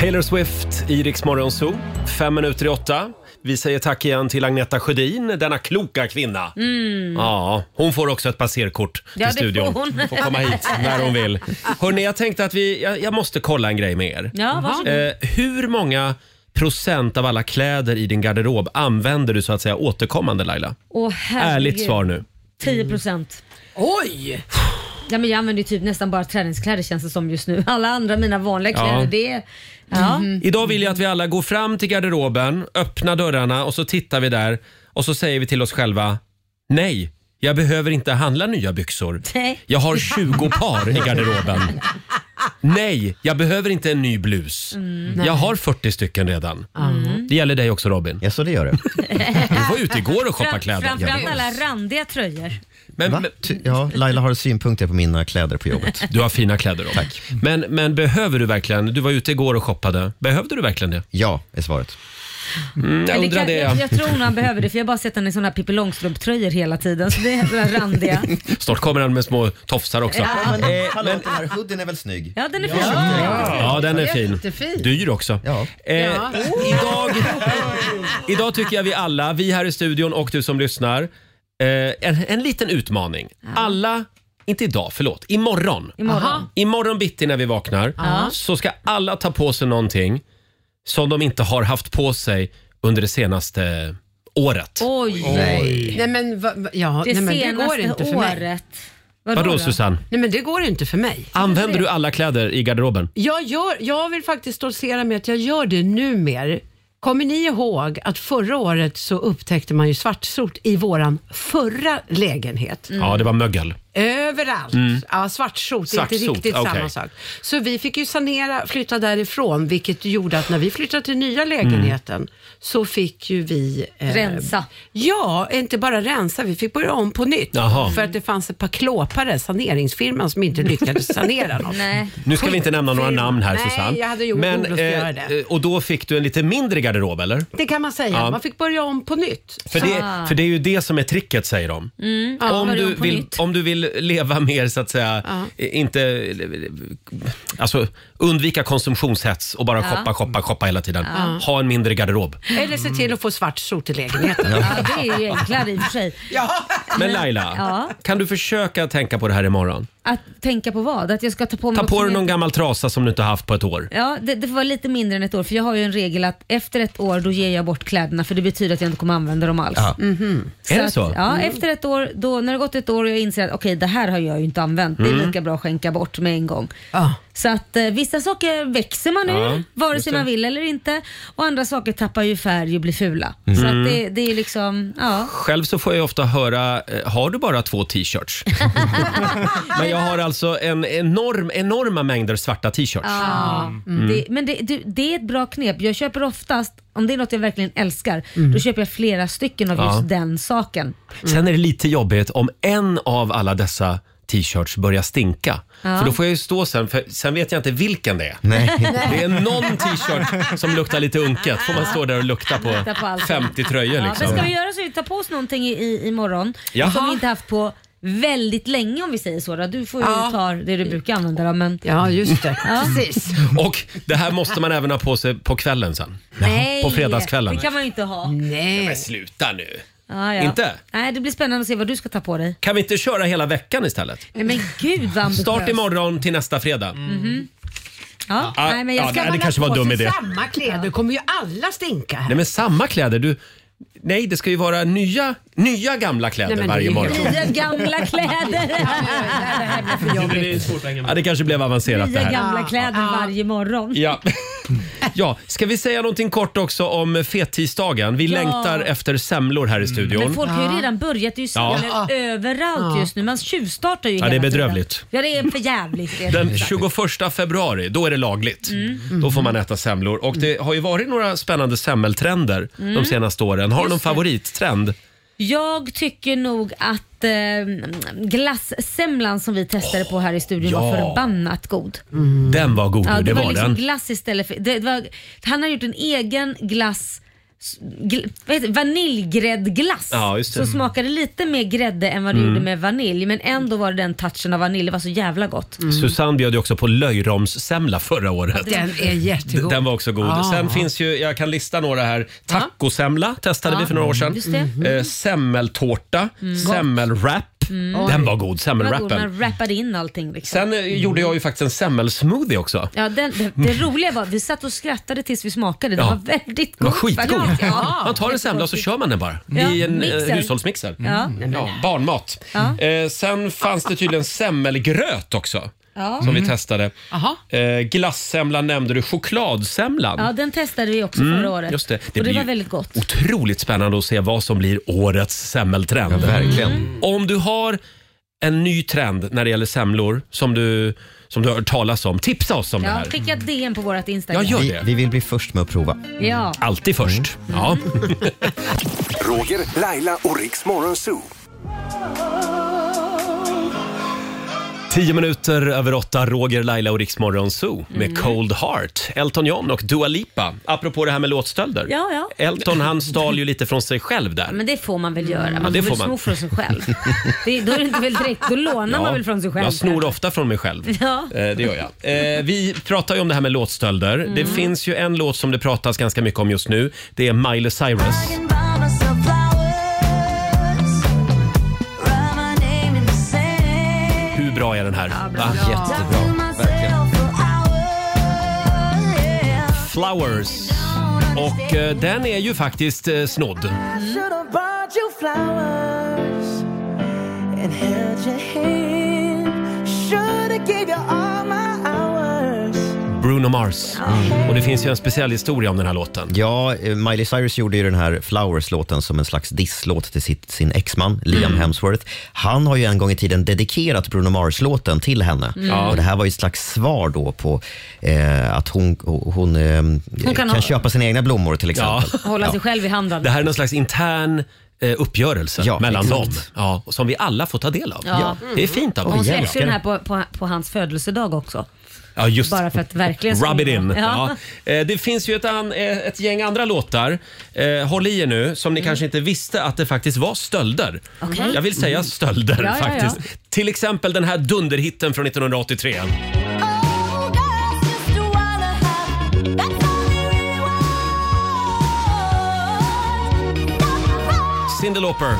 Speaker 1: Taylor Swift i Rix Morgon Zoo. Fem minuter i åtta. Vi säger tack igen till Agneta Sjödin, denna kloka kvinna.
Speaker 2: Mm.
Speaker 1: Ja, hon får också ett passerkort till
Speaker 2: Ja, det får
Speaker 1: studion.
Speaker 2: hon.
Speaker 1: får komma hit när hon vill. Hörrni, jag tänkte att vi, jag, jag måste kolla en grej med er.
Speaker 2: Ja, varsågod.
Speaker 1: Eh, hur många procent av alla kläder i din garderob använder du så att säga återkommande Laila?
Speaker 2: Åh, herregud.
Speaker 1: Ärligt svar nu.
Speaker 2: 10 procent. Oj! Ja, men jag använder ju typ nästan bara träningskläder känns det som just nu. Alla andra mina vanliga
Speaker 1: Ja. Mm.
Speaker 2: kläder, det är... Ja.
Speaker 1: Idag vill jag att vi alla går fram till garderoben, öppnar dörrarna och så tittar vi där och så säger vi till oss själva Nej, jag behöver inte handla nya byxor.
Speaker 2: Nej.
Speaker 1: Jag har 20 par i garderoben. Nej, jag behöver inte en ny blus.
Speaker 2: Mm.
Speaker 1: Jag har 40 stycken redan.
Speaker 7: Mm.
Speaker 1: Det gäller dig också Robin. Ja, så det gör det. Du var ute igår och shoppade
Speaker 2: Fram-
Speaker 1: kläder.
Speaker 2: Framförallt alla randiga tröjor.
Speaker 1: Men, men,
Speaker 6: Ja, Laila har synpunkter på mina kläder på jobbet.
Speaker 1: Du har fina kläder Robin. Tack. Men, men behöver du verkligen, du var ute igår och shoppade, behövde du verkligen det? Ja, är svaret. Mm, jag
Speaker 2: Men
Speaker 1: undrar
Speaker 2: kan-
Speaker 1: det.
Speaker 2: jag, jag tror nog han behöver det för jag har bara sett henne i såna här Pippi Långstrump-tröjor hela tiden. Så det är sådana här randiga.
Speaker 1: Snart kommer han med små tofsar också.
Speaker 2: Ja.
Speaker 1: Eh,
Speaker 6: Hallå, den här hoodien är väl snygg?
Speaker 2: Ja, den är
Speaker 6: Ja.
Speaker 2: fin.
Speaker 1: Ja, den är fin.
Speaker 2: Jättefin.
Speaker 1: Dyr också. Eh, idag, idag tycker jag vi alla, vi här i studion och du som lyssnar, eh, en, en liten utmaning. Alla, inte idag, förlåt, imorgon.
Speaker 2: Imorgon. Aha.
Speaker 1: imorgon bitti när vi vaknar
Speaker 2: Ja.
Speaker 1: så ska alla ta på sig någonting som de inte har haft på sig under det senaste året.
Speaker 2: Oj!
Speaker 1: Nej.
Speaker 4: Nej men, va, va, ja,
Speaker 2: Det
Speaker 4: nej, men det
Speaker 2: senaste
Speaker 4: går inte för mig.
Speaker 2: året.
Speaker 1: Vadå, Vadå, då? Susanne?
Speaker 4: Nej men det går inte för mig.
Speaker 1: Använder du alla kläder i garderoben?
Speaker 4: Jag, gör, jag vill faktiskt stoltsera med att jag gör det numer. Kommer ni ihåg att förra året så upptäckte man ju svartsot i våran förra lägenhet?
Speaker 1: Ja, det var mögel.
Speaker 4: Överallt.
Speaker 1: Mm.
Speaker 4: Ja, svartsot, det är inte
Speaker 1: Svartsot,
Speaker 4: riktigt samma
Speaker 1: okej.
Speaker 4: sak. Så vi fick ju sanera, flytta därifrån, vilket gjorde att när vi flyttade till nya lägenheten
Speaker 1: Mm.
Speaker 4: så fick ju vi... eh,
Speaker 2: Rensa.
Speaker 4: Ja, inte bara rensa, vi fick börja om på nytt.
Speaker 1: Jaha.
Speaker 4: För att det fanns ett par klåpare, saneringsfirman, som inte lyckades sanera något.
Speaker 2: Nej.
Speaker 1: Nu ska vi inte nämna några namn här
Speaker 4: Nej,
Speaker 1: Susanne.
Speaker 4: jag hade gjort
Speaker 1: Men,
Speaker 4: Olof att
Speaker 1: eh,
Speaker 4: göra det.
Speaker 1: eh, Och då fick du en lite mindre garderob eller?
Speaker 4: Det kan man säga,
Speaker 1: Ja.
Speaker 4: man fick börja om på nytt.
Speaker 1: För
Speaker 4: Så-
Speaker 1: det, för det är ju det som är tricket säger de.
Speaker 4: Mm, ja,
Speaker 1: Om
Speaker 4: börja
Speaker 1: du,
Speaker 4: om på
Speaker 1: vill,
Speaker 4: nytt.
Speaker 1: om du vill leva mer så att säga,
Speaker 4: Ja.
Speaker 1: eh, inte, alltså undvika konsumtionshets och bara
Speaker 4: Ja.
Speaker 1: shoppa, shoppa, shoppa hela tiden.
Speaker 4: Ja.
Speaker 1: Ha en mindre garderob.
Speaker 4: Eller se till att få svart sot i lägenheten.
Speaker 1: Ja.
Speaker 2: Ja, det är ju enklare i och för sig.
Speaker 4: Ja.
Speaker 1: Men Laila,
Speaker 2: Ja.
Speaker 1: kan du försöka tänka på det här imorgon?
Speaker 2: Att tänka på vad? Att jag ska ta på mig
Speaker 1: Ta
Speaker 2: något
Speaker 1: på
Speaker 2: som
Speaker 1: dig någon
Speaker 2: jag-
Speaker 1: gammal trasa som du inte har haft på ett år.
Speaker 2: Ja, det, det får vara lite mindre än ett år för jag har ju en regel att efter ett år då ger jag bort kläderna för det betyder att jag inte kommer använda dem alls.
Speaker 1: Ja.
Speaker 2: Mhm.
Speaker 1: Är det så?
Speaker 2: Att, ja,
Speaker 1: Mm.
Speaker 2: efter ett år, då, när det har gått ett år och jag inser att okej det här har jag ju inte använt, det är
Speaker 1: Mm.
Speaker 2: lika bra att skänka bort med en gång. Så att eh, vissa saker växer man ur,
Speaker 1: Ja,
Speaker 2: vare
Speaker 1: just
Speaker 2: sig
Speaker 1: det.
Speaker 2: man vill eller inte. Och andra saker tappar ju färg och blir fula. Så
Speaker 1: Mm.
Speaker 2: att det, det är liksom, ja.
Speaker 1: Själv så får jag ofta höra, eh, har du bara två t-shirts? Men jag har alltså en enorm, enorma mängder svarta t-shirts.
Speaker 2: Ja,
Speaker 1: Mm.
Speaker 2: det, men det, du, det är ett bra knep. Jag köper oftast, om det är något jag verkligen älskar,
Speaker 1: Mm.
Speaker 2: då köper jag flera stycken av
Speaker 1: Ja.
Speaker 2: just den saken.
Speaker 1: Sen är det lite jobbigt om en av alla dessa t-shirts börjar stinka.
Speaker 2: Ja.
Speaker 1: För då får jag ju stå sen, för sen vet jag inte vilken det är.
Speaker 2: Nej.
Speaker 1: Det är någon t-shirt som luktar lite unket. Får man stå där och lukta på
Speaker 2: Lukta på allt.
Speaker 1: 50 tröjor
Speaker 2: Ja,
Speaker 1: liksom.
Speaker 2: Men ska vi göra så att vi tar på oss någonting i, i, imorgon
Speaker 1: Ja.
Speaker 2: som vi inte haft på väldigt länge om vi säger så. Då. Du får ju ta det du brukar använda då, men...
Speaker 4: Ja, just det.
Speaker 2: Precis.
Speaker 1: Och det här måste man även ha på sig på kvällen sen.
Speaker 2: Nej,
Speaker 1: På fredagskvällen.
Speaker 2: det kan man ju inte ha.
Speaker 4: Nej.
Speaker 1: Men sluta nu.
Speaker 2: Ja, ja.
Speaker 1: Inte?
Speaker 2: Nej, det blir spännande att se vad du ska ta på dig.
Speaker 1: Kan vi inte köra hela veckan istället?
Speaker 2: Nej, men gud vad ambitiöst.
Speaker 1: Start imorgon till nästa fredag.
Speaker 2: Mhm. Ja,
Speaker 1: Ja,
Speaker 2: nej, men jag
Speaker 1: ja,
Speaker 2: ska
Speaker 1: det- det
Speaker 2: bara-
Speaker 1: kanske var en dum
Speaker 4: På sig
Speaker 1: idé.
Speaker 4: samma kläder kommer ju alla stinka här.
Speaker 1: Nej men samma kläder. Du, nej det ska ju vara nya, nya gamla
Speaker 4: Nej,
Speaker 1: kläder
Speaker 4: men
Speaker 1: varje
Speaker 4: det är
Speaker 1: morgon.
Speaker 4: ju-
Speaker 2: Nya gamla kläder.
Speaker 1: Ja, det kanske blev avancerat det
Speaker 2: Nya
Speaker 1: här.
Speaker 2: gamla kläder varje morgon.
Speaker 1: Ja. ja, ska vi säga någonting kort också om fettisdagen? Vi
Speaker 2: Ja. Mm.
Speaker 1: längtar efter semlor här i studion.
Speaker 2: Men folk har ju redan börjat. Det är ju
Speaker 1: Ja.
Speaker 2: smällar överallt
Speaker 1: Ja.
Speaker 2: just nu. Man tjuvstartar ju
Speaker 1: Ja, det är
Speaker 2: hela tiden.
Speaker 1: bedrövligt.
Speaker 2: Ja, det är för jävligt. det är
Speaker 1: Den
Speaker 2: det.
Speaker 1: 21 februari, då är det lagligt.
Speaker 2: Mm.
Speaker 1: Då får man äta semlor. Och det har ju varit några spännande semmeltrender
Speaker 2: Mm.
Speaker 1: de senaste åren. Har du
Speaker 2: Just
Speaker 1: någon
Speaker 2: det.
Speaker 1: favorittrend?
Speaker 2: Jag tycker nog att eh, glassemlan som vi testade på här i studion var
Speaker 1: ja.
Speaker 2: förbannat god.
Speaker 1: Den var god,
Speaker 2: Ja,
Speaker 1: det, var,
Speaker 2: liksom
Speaker 1: den.
Speaker 2: glass istället för... Det var, han har gjort en egen glass s- gl, vad heter det? vaniljgräddglass
Speaker 1: Ja, just det.
Speaker 2: som smakade lite mer grädde än vad det
Speaker 1: Mm.
Speaker 2: gjorde med vanilj men ändå var det den touchen av vanilj. Det var så jävla gott.
Speaker 1: Mm. Susanne bjöd ju också på löjromssemla förra året.
Speaker 4: Den är
Speaker 1: D-
Speaker 4: jättegod.
Speaker 1: Den var också god.
Speaker 2: Ah.
Speaker 4: Ja.
Speaker 1: Sen finns ju, jag kan lista några här. Tacosemla testade
Speaker 4: Ja.
Speaker 1: vi för några år sedan.
Speaker 2: Just det. Mhm.
Speaker 1: Eh, semmeltårta,
Speaker 2: Mm.
Speaker 1: semmelwrap. Den var
Speaker 2: Mm.
Speaker 1: god,
Speaker 2: Den var god,
Speaker 1: semmelwrappen.
Speaker 2: Man rappade in allting. Liksom.
Speaker 1: Sen eh, gjorde jag ju faktiskt en semmelsmoothie också.
Speaker 2: Ja, den, det, det roliga var vi satt och skrattade tills vi smakade. Den
Speaker 1: Ja.
Speaker 2: var väldigt
Speaker 1: Den
Speaker 2: god.
Speaker 1: var skitgod.
Speaker 2: faktiskt. Ja.
Speaker 1: Man tar en semla och så kör man den bara
Speaker 2: Ja,
Speaker 1: i en eh,
Speaker 2: mixer.
Speaker 1: hushållsmixer.
Speaker 2: Ja. Mm.
Speaker 1: Ja, barnmat.
Speaker 2: Ja.
Speaker 1: Eh, sen fanns det tydligen semmelgröt också.
Speaker 2: Ja.
Speaker 1: Som vi
Speaker 2: Mm.
Speaker 1: testade.
Speaker 2: Aha.
Speaker 1: Eh, glassemlan nämnde du, chokladsemlan.
Speaker 2: Ja, den testade vi också
Speaker 1: Mm,
Speaker 2: förra året.
Speaker 1: just det. Det
Speaker 2: och det
Speaker 1: blir
Speaker 2: var
Speaker 1: ju-
Speaker 2: väldigt gott.
Speaker 1: Otroligt spännande att se vad som blir årets semmeltrend. verkligen. Om du har en ny trend när det gäller semlor som du, som du har hört talas om, tipsa oss om det
Speaker 2: Ja,
Speaker 1: här.
Speaker 2: skicka ett DM på vårt Instagram.
Speaker 1: Jag gör det.
Speaker 6: Vi vill bli först med att prova.
Speaker 2: Ja.
Speaker 1: Alltid först. Ja.
Speaker 3: Roger, Laila och Riks Morgonzoo.
Speaker 1: Tio minuter över åtta, Roger, Laila och Riksmorgon Zoo med
Speaker 2: Mm.
Speaker 1: Cold Heart. Elton John och Dua Lipa. Apropå det här med låtstölder.
Speaker 2: Ja, ja.
Speaker 1: Elton han stal ju lite från sig själv
Speaker 2: Ja,
Speaker 1: där.
Speaker 2: Men det får man väl göra. Man
Speaker 1: Ja, det
Speaker 2: får väl
Speaker 1: får man.
Speaker 2: sno från sig själv. Det, då är det inte väl direkt, då lånar man väl från sig själv.
Speaker 1: Jag snor ofta från mig själv.
Speaker 2: Ja.
Speaker 1: Eh, det gör jag. Eh, vi pratar ju om det här med låtstölder.
Speaker 11: Mm.
Speaker 1: Det finns ju en låt som det pratas ganska mycket om just nu. Det är Miley Cyrus. Hur bra är den här? Va? Jättebra. Flowers. Och eh, den är ju faktiskt eh, snodd.
Speaker 11: Should have bought you flowers and held your hand.
Speaker 10: Could've gave you all my hours.
Speaker 1: Bruno Mars. Och det finns ju en speciell historia om den här låten.
Speaker 6: Ja, eh, Miley Cyrus gjorde ju den här Flowers-låten som en slags disslåt till sitt, sin exman Liam
Speaker 1: Mm.
Speaker 6: Hemsworth. Han har ju en gång i tiden dedikerat Bruno Mars-låten till henne.
Speaker 2: Mm. Ja.
Speaker 6: Och det här var ju ett slags svar då på eh, att hon, hon, eh,
Speaker 2: kan
Speaker 6: kan,
Speaker 2: ha-
Speaker 6: köpa sina egna blommor till exempel.
Speaker 2: Hålla
Speaker 6: Ja.
Speaker 2: sig själv i handen.
Speaker 1: Det här är någon slags intern eh, uppgörelse
Speaker 6: Ja,
Speaker 1: mellan
Speaker 6: exakt.
Speaker 1: dem. Ja, och som vi alla får ta del av.
Speaker 2: Ja.
Speaker 1: Det är fint av
Speaker 2: Och Hon
Speaker 1: dem.
Speaker 2: släppte ju den här på, på, på hans födelsedag också.
Speaker 1: Ja, just.
Speaker 2: Bara för att verkligen...
Speaker 1: Rub it in.
Speaker 2: Ja.
Speaker 1: Ja. Eh, Det finns ju ett, an, eh, ett gäng andra låtar, eh, håll i er nu, som ni kanske inte visste att det faktiskt var stölder.
Speaker 2: Mm. Okej. Mm.
Speaker 1: Jag vill säga stölder
Speaker 10: Ja, ja, ja.
Speaker 1: faktiskt. Till exempel den här dunderhitten från 1983.
Speaker 8: Oh,
Speaker 1: Cyndi Lauper,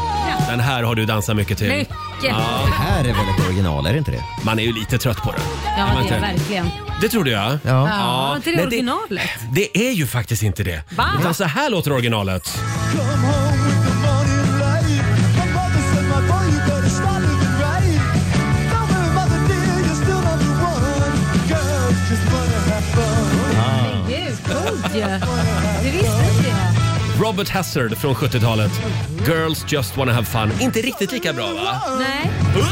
Speaker 1: den här har du dansat mycket till.
Speaker 2: Mycket.
Speaker 1: Det här är väldigt original, är det inte det? Man är ju lite trött på den. Är man
Speaker 2: Ja, det
Speaker 1: inte?
Speaker 2: är verkligen.
Speaker 1: Det trodde jag.
Speaker 2: Ja. Var inte det
Speaker 1: Nej,
Speaker 2: originalet?
Speaker 1: Det är ju faktiskt inte det.
Speaker 2: Va?
Speaker 1: Utan så här låter originalet.
Speaker 10: Come home with the morning light. My mother said, my boy, you better start living right. Don't worry, mother dear, you're still number one. Girls just wanna have fun.
Speaker 1: Ah.
Speaker 2: Gud, coolt ju. Du visste inte det.
Speaker 1: Robert Hazard från 70-talet. Girls just wanna have fun. Inte riktigt lika bra va?
Speaker 2: Nej. Men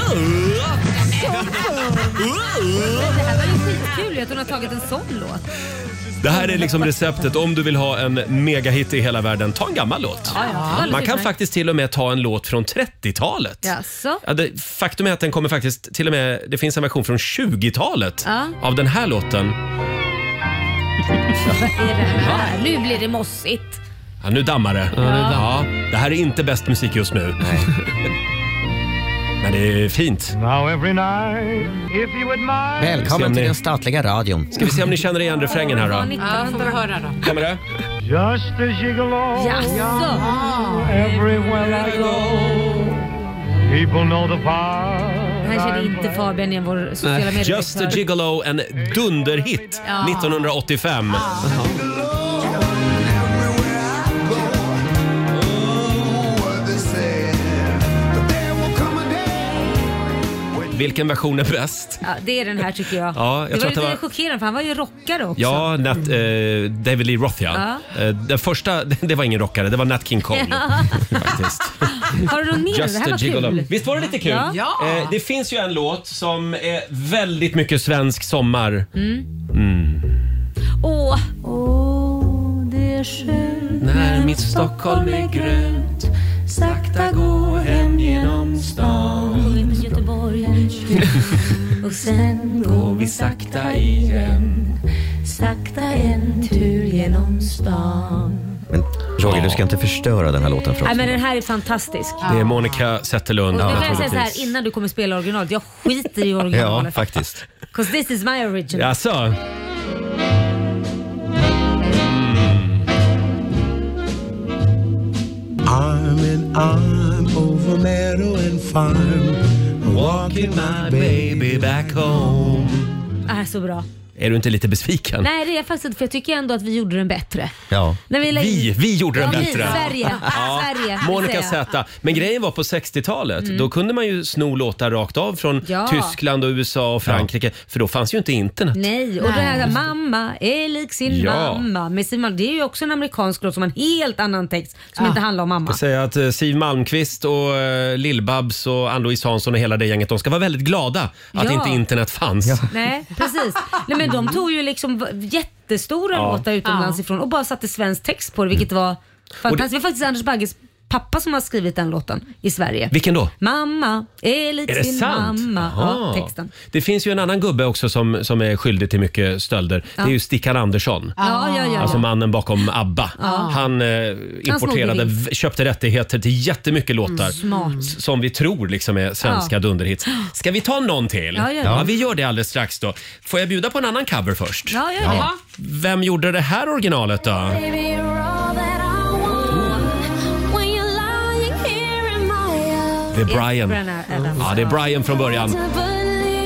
Speaker 2: det här var ju skitkul att hon har tagit en sån låt.
Speaker 1: Det här är liksom receptet om du vill ha en megahit i hela världen. Ta en gammal låt.
Speaker 2: Ja, ja. Alldeles
Speaker 1: Man kan
Speaker 2: utmärkt.
Speaker 1: faktiskt till och med ta en låt från 30-talet.
Speaker 2: Jaså?
Speaker 1: Ja, det, faktum är att den kommer faktiskt till och med, det finns en version från 20-talet
Speaker 2: Ja.
Speaker 1: av den här låten.
Speaker 2: Vad är det här? Nu blir det mossigt.
Speaker 1: Ja, nu dammar det. Ja,
Speaker 2: nu dammar
Speaker 1: det här är inte bäst musik just nu. Men det är fint.
Speaker 10: Now every night, if you admire...
Speaker 1: Ska
Speaker 6: Välkommen
Speaker 1: ni-
Speaker 6: till den statliga radion.
Speaker 1: Ska vi se om ni känner igen refrängen här då?
Speaker 10: Ja, får vi höra då.
Speaker 1: Kommer det?
Speaker 10: Just a gigolo.
Speaker 2: Jaså?
Speaker 10: Everywhere I go. People know the part.
Speaker 2: Här känner inte Fabian igen vår sociala
Speaker 1: Nej.
Speaker 2: medier.
Speaker 1: Just a gigolo, en dunderhit
Speaker 2: Ja.
Speaker 1: 1985. Vilken version är bäst?
Speaker 2: Ja, det är den här tycker jag.
Speaker 1: Ja, jag
Speaker 2: det
Speaker 1: tror
Speaker 2: var
Speaker 1: att det
Speaker 2: lite
Speaker 1: var-
Speaker 2: chockerande för han var ju rockare också.
Speaker 1: Ja, Nat, eh, David Lee Roth ja. Eh, den första, det var ingen rockare, det var Nat King Cole. faktiskt.
Speaker 2: Har du någon mer? det här var kul.
Speaker 1: Visst var det lite kul?
Speaker 2: Ja.
Speaker 1: Eh, det finns ju en låt som är väldigt mycket svensk sommar.
Speaker 2: Mm.
Speaker 1: Mm.
Speaker 2: Åh, åh, det är skönt
Speaker 1: När mitt Stockholm är grönt
Speaker 2: Sakta gå hem genom stan Gå in i Göteborg en tjuv, Och sen går vi sakta igen Sakta er- en tur genom stan
Speaker 6: Men Roger, du ska inte förstöra den här låten för oss.
Speaker 2: Nej men den här är fantastisk.
Speaker 1: Det är Monica Zetterlund.
Speaker 2: Och nu kan jag säga
Speaker 1: naturligtvis.
Speaker 2: så här innan du kommer spela originalet. Jag skiter i originalet.
Speaker 1: faktiskt.
Speaker 2: Cause this is my original.
Speaker 1: Jaså?
Speaker 10: Mm. Arm in arm over meadow and farm. Walking my baby back home.
Speaker 2: Ah, så
Speaker 1: Mm.
Speaker 2: bra.
Speaker 1: Är du inte lite besviken?
Speaker 2: Nej det är jag faktiskt inte för jag tycker ändå att vi gjorde den bättre.
Speaker 1: Ja.
Speaker 2: När vi la in-
Speaker 1: Vi, vi gjorde den
Speaker 2: Ja, vi,
Speaker 1: bättre.
Speaker 2: Sverige. Sverige, vill
Speaker 1: Monica
Speaker 2: säga.
Speaker 1: Z. Men grejen var på 60-talet,
Speaker 2: Mm.
Speaker 1: då kunde man ju sno låtar rakt av från
Speaker 2: Ja.
Speaker 1: Tyskland och USA och Frankrike. För då fanns ju inte internet.
Speaker 2: Nej, och det här mamma är lik sin
Speaker 1: Ja.
Speaker 2: mamma. Men sin mamma. Det är ju också en amerikansk låt som har en helt annan text som inte handlar om mamma.
Speaker 1: Jag säger att eh, Siw Malmkvist och eh, Lill-Babs och Ann-Louise Hansson och hela det gänget, de ska vara väldigt glada att
Speaker 2: Ja.
Speaker 1: inte internet fanns.
Speaker 2: Nej, precis. Nej, men de tog ju liksom v- jättestora
Speaker 1: Ja.
Speaker 2: låtar utomlands
Speaker 1: Ja. Mm.
Speaker 2: ifrån och bara satte svensk text på det, vilket var fantastiskt. Det var faktiskt Anders Bagges pappa som har skrivit den låten i Sverige.
Speaker 1: Vilken då?
Speaker 2: Mamma är lik
Speaker 1: Är det
Speaker 2: sin
Speaker 1: sant?
Speaker 2: mamma.
Speaker 1: Jaha.
Speaker 2: Ja, texten.
Speaker 1: Det finns ju en annan gubbe också som, som är skyldig till mycket stölder.
Speaker 2: Ja.
Speaker 1: Det är ju Stickan Andersson.
Speaker 2: Ja, ja, ja,
Speaker 1: Alltså
Speaker 2: ja.
Speaker 1: mannen bakom ABBA.
Speaker 2: Ja.
Speaker 1: Han eh, importerade,
Speaker 2: snodde
Speaker 1: v- köpte rättigheter till jättemycket låtar.
Speaker 2: Mm, smart.
Speaker 1: s- Som vi tror liksom är svenska
Speaker 2: Ja.
Speaker 1: dunderhits. Ska vi ta någon till?
Speaker 2: Ja, gör det.
Speaker 1: vi gör det alldeles strax då. Får jag bjuda på en annan cover först?
Speaker 2: Ja, gör det. Ja.
Speaker 1: Vem gjorde det här originalet då? Det är Brian. Ja, det är Brian från början.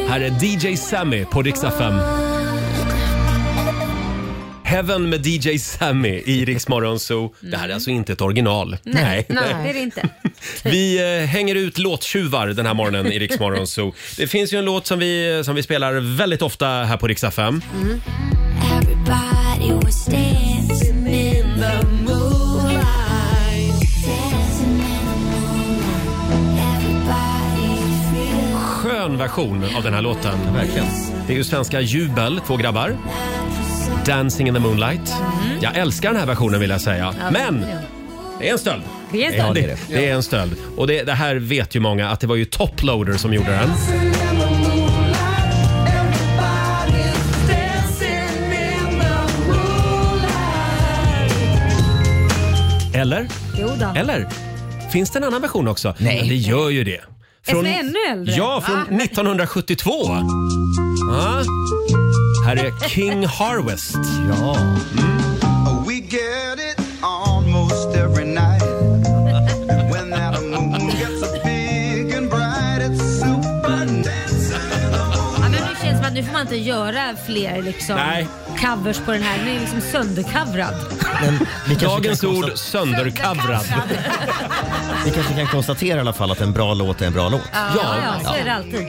Speaker 1: Här är DJ Sammy på Dix FM. Heaven med DJ Sammy i Rix Morgon Zoo. Det här är alltså inte ett original.
Speaker 2: det är det inte.
Speaker 1: Vi eh, hänger ut låttjuvar den här morgonen i Rix Morgon Zoo. Det finns ju en låt som vi, eh, som vi spelar väldigt ofta här på Rix FM.
Speaker 11: Everybody was dancing in the moonlight. Dancing in the moonlight. Everybody's feeling
Speaker 1: Skön version av den här låten. Verkligen. Det är ju svenska Jubel, två grabbar. Dancing in the moonlight.
Speaker 11: Mm.
Speaker 1: Jag älskar den här versionen vill jag säga.
Speaker 2: Ja,
Speaker 1: Men
Speaker 2: verkligen.
Speaker 1: det är en stöld.
Speaker 2: Det är en stöld.
Speaker 1: det, det, det är en stöld. Och det, det här vet ju många att det var ju Toploader som gjorde den. Eller?
Speaker 2: Jo då.
Speaker 1: Eller? Finns det en annan version också? Nej. Men det gör ju det.
Speaker 2: Som är ännu äldre? Ah.
Speaker 1: Ja, från
Speaker 2: Va?
Speaker 1: 1972. Ja. Här är King Harvest. Ja.
Speaker 10: We get it almost every night. And when that moon gets so big and bright, it's super dancing.
Speaker 2: Ja, men nu känns det som att nu får man inte göra fler liksom,
Speaker 1: Nej.
Speaker 2: covers på den här. Den är liksom söndercoverad.
Speaker 1: Dagens ord söndercoverad.
Speaker 6: Vi kanske kan konstatera i alla fall att en bra låt är en bra låt.
Speaker 2: Ja, ja, så är det alltid.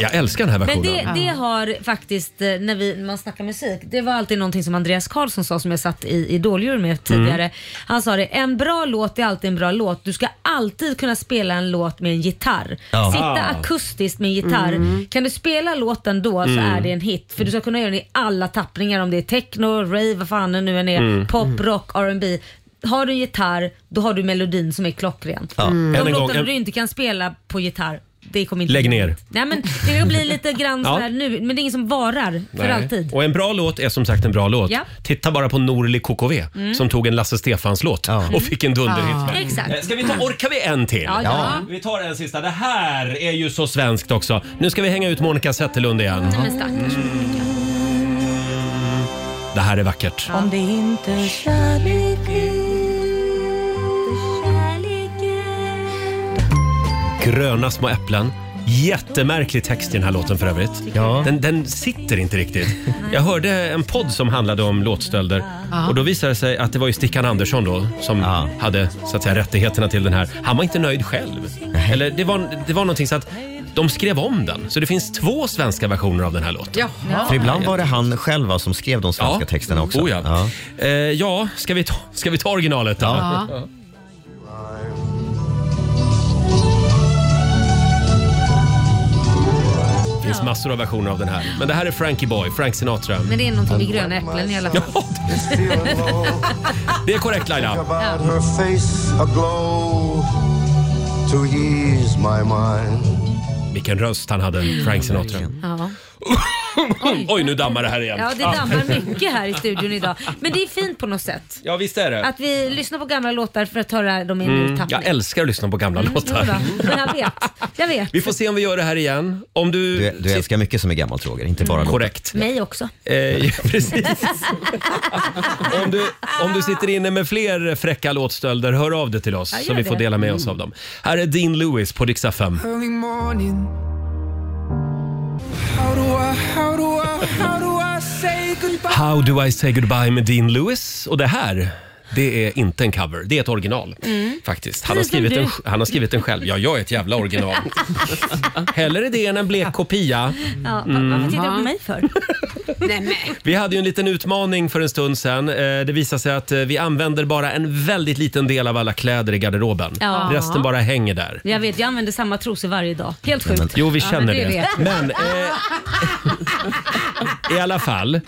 Speaker 1: Jag älskar den här
Speaker 2: Men
Speaker 6: versionen.
Speaker 2: det, det har faktiskt, eh, när, vi, när man snackar musik, det var alltid någonting som Andreas Karlsson sa som jag satt i idol
Speaker 11: Mm.
Speaker 2: med tidigare. Han sa det, en bra låt är alltid en bra låt. Du ska alltid kunna spela en låt med en gitarr.
Speaker 11: Ja.
Speaker 2: Sitta
Speaker 11: Ah.
Speaker 2: akustiskt med en gitarr.
Speaker 11: Mm.
Speaker 2: Kan du spela låten då så
Speaker 11: Mm.
Speaker 2: är det en hit. För du ska kunna göra den i alla tappningar om det är techno, rave, vad fan det nu än är,
Speaker 1: Mm.
Speaker 2: pop, rock, R&B Har du en gitarr, då har du melodin som är klockren.
Speaker 1: Ja. Mm. Än
Speaker 2: De
Speaker 1: en gång,
Speaker 2: låtarna
Speaker 1: en-
Speaker 2: du inte kan spela på gitarr, det kommer inte
Speaker 1: Lägg ner.
Speaker 2: Nej men det blir lite grann
Speaker 1: Ja.
Speaker 2: sådär nu, men det är ingen som varar för
Speaker 1: Nej.
Speaker 2: alltid.
Speaker 1: Och en bra låt är som sagt en bra låt.
Speaker 2: Ja.
Speaker 1: Titta bara på Norli KKV
Speaker 2: Mm.
Speaker 1: som tog en Lasse Stefans låt och fick en
Speaker 2: Ja.
Speaker 1: dunderhit. med.
Speaker 2: Exakt.
Speaker 1: Eh, Ska vi ta, orkar vi en till?
Speaker 2: Ja, ja. Ja.
Speaker 1: Vi tar en sista. Det här är ju så svenskt också. Nu ska vi hänga ut Monica Zetterlund igen.
Speaker 2: Nej, men stackars Monica.
Speaker 1: Det här är vackert.
Speaker 11: Om det inte är kärlek
Speaker 1: Gröna små äpplen. Jättemärklig text i den här låten för övrigt. Den, den sitter inte riktigt. Jag hörde en podd som handlade om låtstölder
Speaker 10: Ja.
Speaker 1: och då visade det sig att det var ju Stickan Andersson då som hade så att säga, rättigheterna till den här. Han var inte nöjd själv. Eller det var, det var någonting så att de skrev om den. Så det finns två svenska versioner av den här låten.
Speaker 2: Jaha.
Speaker 6: För ibland var det han själv va, som skrev de svenska texterna också.
Speaker 1: Oh, Ah, ja.
Speaker 6: Ja.
Speaker 1: Eh, ja, ska vi ta, ska vi ta originalet då?
Speaker 6: Ja.
Speaker 1: Det finns massor av versioner av den här. Men det här är Frankie Boy, Frank Sinatra.
Speaker 2: Men det är någonting med gröna äpplen i alla fall.
Speaker 1: Det är korrekt Laila.
Speaker 10: About her face aglow to ease my mind.
Speaker 1: Vilken röst han hade, Frank Sinatra.
Speaker 2: Ja.
Speaker 1: Oj, nu dammar det här igen.
Speaker 2: ja, det dammar mycket här i studion idag. Men det är fint på något sätt.
Speaker 1: Ja, visst är det.
Speaker 2: Att vi lyssnar på gamla låtar för att höra dem i en ny
Speaker 1: Mm,
Speaker 2: tappning.
Speaker 1: jag älskar att lyssna på gamla
Speaker 2: Mm,
Speaker 1: låtar.
Speaker 2: Jodå, Men jag vet, jag vet.
Speaker 1: Vi får se om vi gör det här igen. Om du...
Speaker 6: Du, du älskar mycket som är gammalt Roger, inte bara
Speaker 1: Korrekt.
Speaker 2: Mig också.
Speaker 1: Eh, precis. Om du, om du sitter inne med fler fräcka låtstölder, hör av dig till oss
Speaker 10: Ja, gör
Speaker 1: så vi
Speaker 10: det. Mm.
Speaker 1: får dela med oss av dem. Här är Dean Lewis på Dix FM.
Speaker 10: Early morning. How do I, how do I, how do I say goodbye?
Speaker 1: How do I say goodbye med Dean Lewis? Och det här, det är inte en cover, det är ett original.
Speaker 10: Mm.
Speaker 1: Faktiskt. Han har,
Speaker 10: Precis som
Speaker 1: skrivit den,
Speaker 10: du.
Speaker 1: han har skrivit den själv. Ja, jag är ett jävla original. Hellre det än en blek kopia.
Speaker 2: Ja,
Speaker 1: Mm.
Speaker 2: Varför tittar du på mig för?
Speaker 4: Nej, men.
Speaker 1: Vi hade ju en liten utmaning för en stund sedan. Eh, Det visade sig att eh, vi använder bara en väldigt liten del av alla kläder i garderoben.
Speaker 2: Ja.
Speaker 1: Resten bara hänger där.
Speaker 2: Jag vet, jag använder samma trosor varje dag. Helt
Speaker 1: Nej, men-
Speaker 2: sjukt.
Speaker 1: Jo, vi känner
Speaker 2: men
Speaker 1: det.
Speaker 2: vet jag.
Speaker 1: Men, eh, I alla fall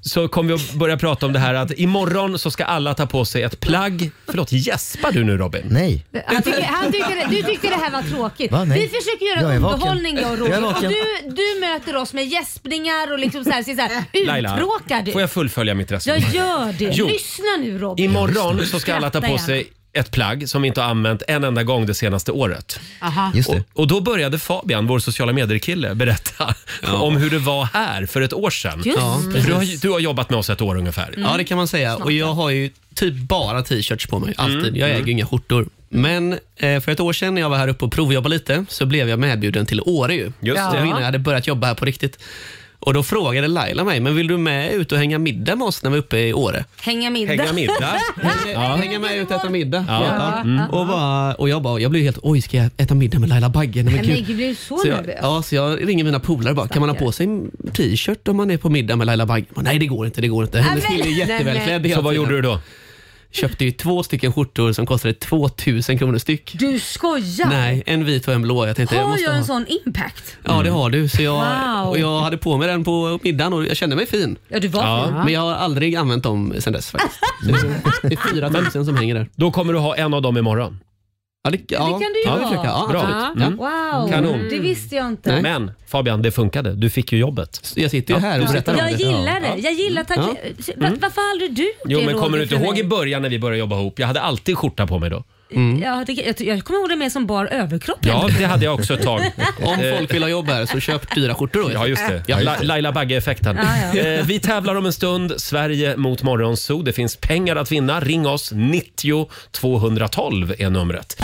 Speaker 1: så kommer vi att börja prata om det här att imorgon så ska alla ta på sig ett plagg. Förlåt, gäspar du nu Robin?
Speaker 6: Nej.
Speaker 2: Han tyckte, han tyckte det, du tyckte det här var tråkigt.
Speaker 1: Va? Nej.
Speaker 2: Vi försöker göra
Speaker 1: Jag är vaken.
Speaker 2: underhållning jag och
Speaker 1: Jag är
Speaker 2: Roger. Och
Speaker 1: vaken.
Speaker 2: du, du möter oss med gäspningar och liksom så här, ser så här
Speaker 1: Laila,
Speaker 2: uttråkad ut.
Speaker 1: får jag fullfölja mitt
Speaker 2: Jag
Speaker 1: resonemang?
Speaker 2: gör det.
Speaker 1: Jo.
Speaker 2: Lyssna nu Roger.
Speaker 1: Imorgon så ska alla ta
Speaker 2: Skratta
Speaker 1: på
Speaker 2: gärna.
Speaker 1: sig ett plagg som vi inte har använt en enda gång det senaste året.
Speaker 2: Aha.
Speaker 1: Och, och då började Fabian, vår sociala medier-kille, berätta om hur det var här för ett år sedan.
Speaker 9: Just Ja, det.
Speaker 1: För du, har, du har jobbat med oss ett år ungefär.
Speaker 2: Mm.
Speaker 9: Ja, det kan man säga. Och jag har ju typ bara t-shirts på mig, alltid.
Speaker 1: Mm.
Speaker 9: Jag äger
Speaker 1: Mm.
Speaker 9: ju inga skjortor. Men eh, för ett år sedan när jag var här uppe och provjobbade lite så blev jag medbjuden till Åre ju.
Speaker 1: Just det.
Speaker 9: Innan jag hade börjat jobba här på riktigt. Och då frågade Laila mig, men vill du med ut och hänga middag med oss när vi är uppe i Åre?
Speaker 2: Hänga middag.
Speaker 9: Hänga middag.
Speaker 2: Ja.
Speaker 9: Hänga med ut och äta middag.
Speaker 2: Ja.
Speaker 9: Ja.
Speaker 2: Mm.
Speaker 9: Och, bara, och jag bara, jag blev helt, oj ska jag äta middag med Laila Bagge? Nej,
Speaker 2: Nej,
Speaker 9: men
Speaker 2: men
Speaker 9: gud.
Speaker 2: gud, blir du så,
Speaker 9: Så jag,
Speaker 2: nervös?
Speaker 9: ja, så jag ringer mina polare bara, kan man ha på sig en t-shirt om man är på middag med Laila Bagge? Bara, Nej det går inte, det går inte. Hennes
Speaker 1: Nej, men-
Speaker 9: kille är
Speaker 1: Nej,
Speaker 9: jättevälklädd
Speaker 1: men- Så vad gjorde du
Speaker 9: då? Köpte ju två stycken skjortor som kostade 2000 kronor styck.
Speaker 2: Du skojar?
Speaker 9: Nej, en vit och en blå. Jag tänkte, jag
Speaker 2: Har
Speaker 9: måste
Speaker 2: jag
Speaker 9: ha.
Speaker 2: en sån impact?
Speaker 9: Ja, det har du. Så jag,
Speaker 2: Wow.
Speaker 9: och jag hade på mig den på middagen och jag kände mig fin.
Speaker 2: Ja, du var fin.
Speaker 9: Men jag har aldrig använt dem sen dess faktiskt. Så det är 4000 som hänger där.
Speaker 1: Då kommer du ha en av dem imorgon.
Speaker 9: Ja, det,
Speaker 2: Det kan du ju ha.
Speaker 1: Bra. Mm.
Speaker 2: Wow,
Speaker 1: Kanon.
Speaker 2: det visste jag inte.
Speaker 1: Men Fabian, det funkade. Du fick ju jobbet.
Speaker 9: Jag sitter ju här och berättar
Speaker 2: Jag gillar det. Jag gillar tack.
Speaker 1: Ja.
Speaker 2: Va-
Speaker 1: Mm.
Speaker 2: Varför aldrig du gjort
Speaker 1: Jo,
Speaker 2: det,
Speaker 1: men
Speaker 2: Roger,
Speaker 1: kommer du inte
Speaker 2: för
Speaker 1: ihåg
Speaker 2: mig?
Speaker 1: i början när vi började jobba ihop? Jag hade alltid skjorta på mig då.
Speaker 2: Ja, det, jag, jag kommer ihåg det mer som bar överkropp.
Speaker 1: Ja, det hade jag också ett tag.
Speaker 9: Om folk vill ha jobb här så köp dyra skjortor då.
Speaker 1: Ja, just det.
Speaker 9: Ja,
Speaker 1: La- Laila Bagge-effekten.
Speaker 2: Ja, ja.
Speaker 1: Eh, Vi tävlar om en stund. Sverige mot Morgonzoo. Det finns pengar att vinna. Ring oss. 90 212 är numret.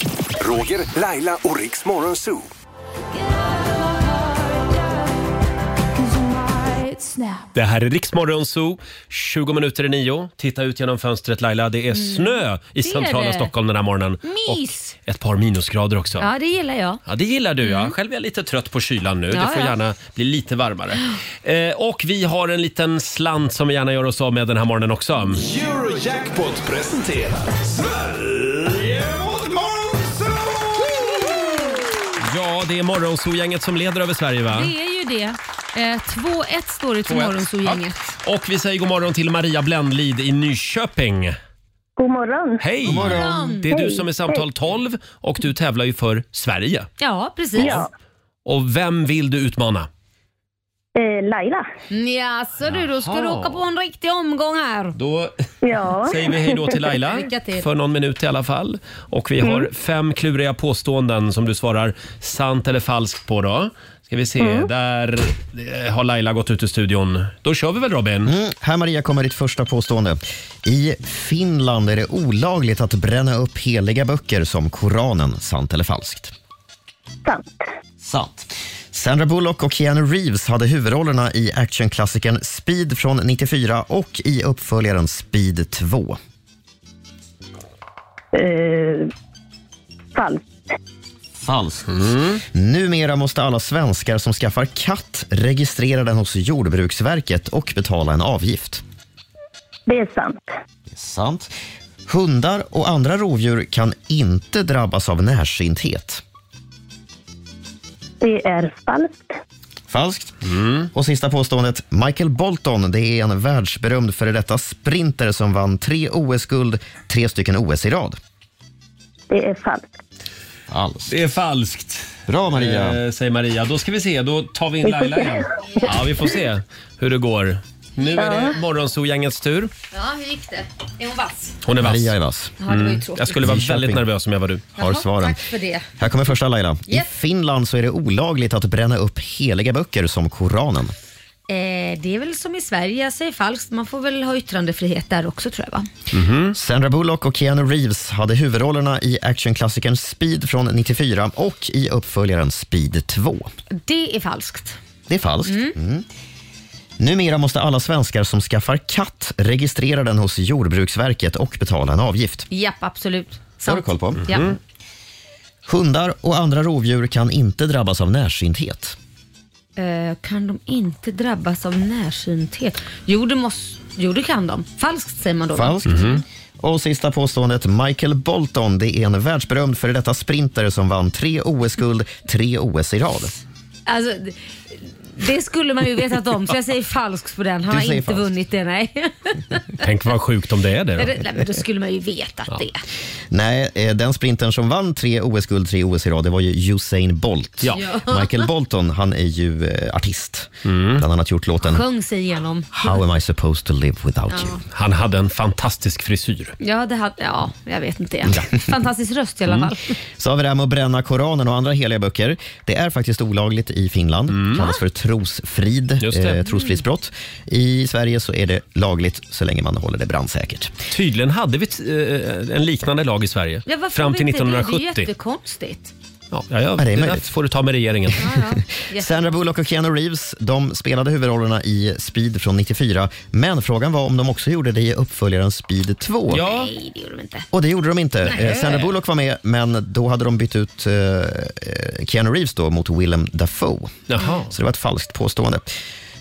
Speaker 3: Roger, Laila och Riks Morgonzoo.
Speaker 1: Det här är Riksmorgon Zoo, 20 minuter i nio. Titta ut genom fönstret Laila, det är snö i
Speaker 2: är
Speaker 1: centrala
Speaker 2: Mm. det.
Speaker 1: Stockholm den här morgonen.
Speaker 2: Mys!
Speaker 1: Ett par minusgrader också.
Speaker 2: Ja, det gillar jag.
Speaker 1: Ja, det gillar du ja. Själv är jag lite trött på kylan nu.
Speaker 2: Ja,
Speaker 1: det får
Speaker 2: ja.
Speaker 1: gärna bli lite varmare. Eh, och vi har en liten slant som vi gärna gör oss av med den här morgonen också.
Speaker 10: Eurojackpot presenterar Sverige mot
Speaker 1: Ja, det är Morgonzoo-gänget som leder över Sverige va?
Speaker 2: Det är ju det. Eh, 2-1 står det till
Speaker 1: 2-1.
Speaker 2: Morgonzoo-gänget.
Speaker 1: Och vi säger god morgon till Maria Bländlid i Nyköping.
Speaker 13: God morgon.
Speaker 1: Hej!
Speaker 13: God morgon.
Speaker 1: Det är du
Speaker 13: Hej.
Speaker 1: som är samtal 12 och du tävlar ju för Sverige.
Speaker 2: Ja, precis.
Speaker 13: Ja.
Speaker 1: Och vem vill du utmana?
Speaker 13: Eh, Laila.
Speaker 2: Ja, så du, då ska du
Speaker 1: Jaha.
Speaker 2: åka på en riktig omgång här.
Speaker 1: Då
Speaker 13: Ja.
Speaker 1: säger vi hej då till Laila
Speaker 2: Lycka till. Mm.
Speaker 1: för någon minut i alla fall. Och vi har fem kluriga påståenden som du svarar sant eller falskt på då. Ska vi se,
Speaker 2: Mm.
Speaker 1: där eh, har Laila gått ut ur studion. Då kör vi väl Robin?
Speaker 6: Mm, här Maria kommer ditt första påstående. I Finland är det olagligt att bränna upp heliga böcker som Koranen, sant eller falskt?
Speaker 13: Sant.
Speaker 6: Sant. Sandra Bullock och Keanu Reeves hade huvudrollerna i actionklassikern Speed från 94 och i uppföljaren Speed 2.
Speaker 13: Eh, falskt.
Speaker 6: Falskt. Mm. Numera måste alla svenskar som skaffar katt registrera den hos Jordbruksverket och betala en avgift.
Speaker 13: Det är sant.
Speaker 6: Det är sant. Hundar och andra rovdjur kan inte drabbas av närsynthet.
Speaker 13: Det är falskt.
Speaker 6: Falskt. Och sista påståendet. Michael Bolton det är en världsberömd före detta sprinter som vann tre OS-guld, tre stycken OS i rad.
Speaker 13: Det är falskt.
Speaker 6: Falskt.
Speaker 1: Det är falskt.
Speaker 6: Bra Maria.
Speaker 1: Eh, säger Maria. Då ska vi se, då tar vi in Laila igen. Ja, vi får se hur det går. Nu är det Morgonzoo-gängets tur.
Speaker 2: Ja, hur gick det? Är hon vass?
Speaker 1: Hon är vass.
Speaker 6: Maria är vass.
Speaker 2: Ja, det var ju tråkigt.
Speaker 1: Jag skulle vara
Speaker 6: Nyköping.
Speaker 1: väldigt nervös om jag var du.
Speaker 6: Har svaren.
Speaker 2: Tack för det.
Speaker 6: Här kommer första Laila. I
Speaker 2: Yes.
Speaker 6: Finland så är det olagligt att bränna upp heliga böcker som Koranen.
Speaker 2: Eh, det är väl som i Sverige, jag säger falskt. Man får väl ha yttrandefrihet där också tror jag va?
Speaker 6: Sandra Bullock och Keanu Reeves hade huvudrollerna i actionklassikern Speed från 94 och i uppföljaren Speed 2.
Speaker 2: Det är falskt.
Speaker 6: Det är falskt. Mm. Numera måste alla svenskar som skaffar katt registrera den hos Jordbruksverket och betala en avgift.
Speaker 2: Japp, absolut.
Speaker 6: Det har du
Speaker 2: Sant.
Speaker 6: koll på.
Speaker 2: Ja.
Speaker 6: Hundar och andra rovdjur kan inte drabbas av närsynthet. Mm-hmm.
Speaker 2: Eh, kan de inte drabbas av närsynthet? Jo det, måste, jo, det kan de. Falskt säger man då. va?
Speaker 6: Falskt.
Speaker 1: Mhm.
Speaker 6: Och sista påståendet, Michael Bolton, det är en världsberömd före detta sprinter som vann tre OS-guld, tre OS i rad.
Speaker 2: Alltså, det- det skulle man ju vetat om, så jag säger falskt på den. Han
Speaker 6: Du
Speaker 2: har
Speaker 6: säger
Speaker 2: inte
Speaker 6: falskt.
Speaker 2: vunnit det, nej.
Speaker 1: Tänk vad sjukt om det är det.
Speaker 2: nej, det- nej men då skulle man ju vetat det.
Speaker 6: Nej, eh, den sprintern som vann tre OS-guld, tre OS i rad, det var ju Usain Bolt.
Speaker 2: Ja. Ja.
Speaker 6: Michael Bolton, han är ju eh, artist.
Speaker 1: Mm.
Speaker 6: Bland annat gjort låten
Speaker 2: Sjöng sig igenom.
Speaker 6: How am I supposed to live without
Speaker 2: Ja.
Speaker 6: you?
Speaker 1: Han hade en fantastisk frisyr.
Speaker 2: Ja, det hade, ja, jag vet inte. Fantastisk röst i alla
Speaker 1: Mm.
Speaker 2: fall.
Speaker 6: Så har vi det här med att bränna Koranen och andra heliga böcker. Det är faktiskt olagligt i Finland. kallas för trosfrid,
Speaker 1: Mm. Just det.
Speaker 6: eh, trosfridsbrott. I Sverige så är det lagligt så länge man håller det brandsäkert.
Speaker 1: Tydligen hade vi t- eh, en liknande lag i Sverige
Speaker 2: Ja, varför
Speaker 1: fram till
Speaker 2: inte det?
Speaker 1: 1970.
Speaker 2: Det är ju jättekonstigt.
Speaker 1: Ja, ja, ja, det där får du ta med regeringen.
Speaker 6: Sandra Bullock och Keanu Reeves de spelade huvudrollerna i Speed från 94, men frågan var om de också gjorde det i uppföljaren Speed 2.
Speaker 2: Nej, det gjorde de inte.
Speaker 6: Och det gjorde de inte.
Speaker 2: Nej.
Speaker 6: Eh, Sandra Bullock var med, men då hade de bytt ut eh, eh, Keanu Reeves då mot Willem Dafoe. Så det var ett falskt påstående.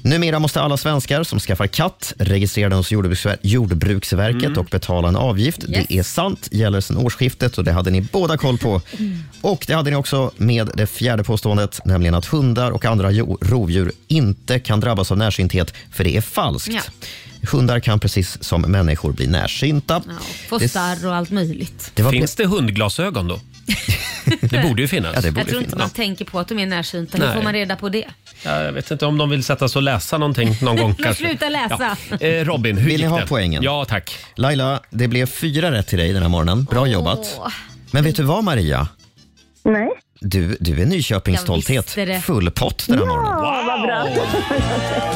Speaker 6: Numera måste alla svenskar som skaffar katt registrera den hos Jordbruksver- Jordbruksverket
Speaker 2: Mm.
Speaker 6: och betala en avgift.
Speaker 10: Yes.
Speaker 6: Det är sant, gäller sedan årsskiftet och det hade ni båda koll på.
Speaker 2: Mm.
Speaker 6: Och det hade ni också med det fjärde påståendet, nämligen att hundar och andra jo- rovdjur inte kan drabbas av närsynthet, för det är falskt. Hundar kan precis som människor bli närsynta.
Speaker 2: Få
Speaker 6: Det-
Speaker 2: starr och allt möjligt.
Speaker 1: Finns det hundglasögon då? det borde ju finnas.
Speaker 2: jag tror inte man tänker på att de är närsynta. Hur
Speaker 1: Nej.
Speaker 2: får man reda på det?
Speaker 1: Ja, jag vet inte om de vill sätta sig och läsa någonting någon gång.
Speaker 2: Men
Speaker 1: kanske.
Speaker 2: sluta läsa.
Speaker 1: Ja. Eh, Robin, hur
Speaker 6: Vill
Speaker 1: gick
Speaker 6: ni ha
Speaker 1: det?
Speaker 6: poängen?
Speaker 1: Ja, tack.
Speaker 6: Laila, det blev fyra rätt till dig den här morgonen. Bra jobbat.
Speaker 2: Åh.
Speaker 6: Men vet du vad Maria?
Speaker 13: Nej.
Speaker 6: Du, du är Nyköpings
Speaker 13: Jag visste
Speaker 6: stolthet.
Speaker 13: det.
Speaker 6: Full pott den här morgonen.
Speaker 13: Ja, vad bra.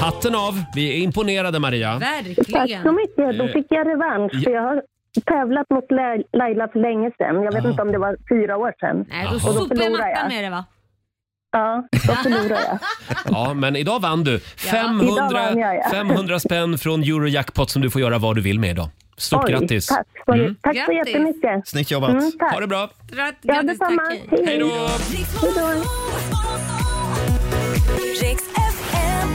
Speaker 1: Hatten av. Vi är imponerade, Maria.
Speaker 13: Tack så mycket.
Speaker 1: Eh,
Speaker 13: Då fick jag revansch. För jag har tävlat mot Lai- Laila för länge sedan. Jag vet inte om det var fyra år sedan.
Speaker 2: Nej, då
Speaker 1: Jaha.
Speaker 2: sopar
Speaker 13: förlorar
Speaker 2: mattan
Speaker 13: jag.
Speaker 2: med det va?
Speaker 13: Ja, då förlorade jag.
Speaker 1: Ja, men idag vann du. 500,
Speaker 13: Idag vann jag, ja.
Speaker 1: 500 spänn från Eurojackpot som du får göra vad du vill med idag. Stort
Speaker 13: Oj,
Speaker 1: grattis!
Speaker 13: Tack, så- tack så jättemycket.
Speaker 6: Snyggt
Speaker 1: jobbat.
Speaker 13: tack.
Speaker 1: Ha det bra.
Speaker 13: Ja, detsamma. Hej
Speaker 1: då.
Speaker 13: Hej då.
Speaker 11: Riks FM.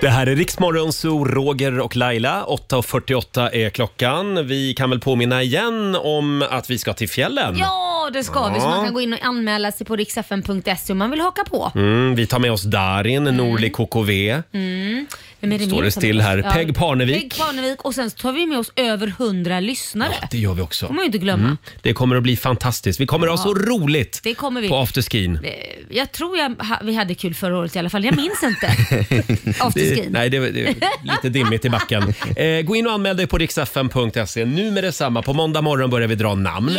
Speaker 1: Det här är Riksmorgon, så Roger och Laila. 8.48 är klockan. Vi kan väl påminna igen om att vi ska till fjällen.
Speaker 2: Ja, det ska vi. Så
Speaker 1: Ja.
Speaker 2: man kan gå in och anmäla sig på riksfn.se E om man vill haka på.
Speaker 1: Mm, vi tar med oss Darin,
Speaker 13: Mm.
Speaker 1: Norli KKV.
Speaker 2: Mm. Vem är
Speaker 1: Står
Speaker 2: mer
Speaker 1: det
Speaker 2: som-
Speaker 1: still här?
Speaker 2: Ja.
Speaker 1: Peg Parnevik.
Speaker 2: Peg Parnevik och sen så tar vi med oss över 100 lyssnare.
Speaker 1: Det Mm. gör vi också.
Speaker 2: får man ju inte glömma.
Speaker 1: Det kommer att bli fantastiskt. Vi kommer att ha så
Speaker 2: Ja.
Speaker 1: roligt
Speaker 2: Det kommer vi.
Speaker 1: på afterskin.
Speaker 2: Eh, Jag tror jag, ha- vi hade kul förra året i alla fall. Jag minns inte. Afterskin.
Speaker 1: Det- Nej, det är, det är lite dimmigt i backen. Eh, gå in och anmäl dig på riksfm.se nu med detsamma. På måndag morgon börjar vi dra namn.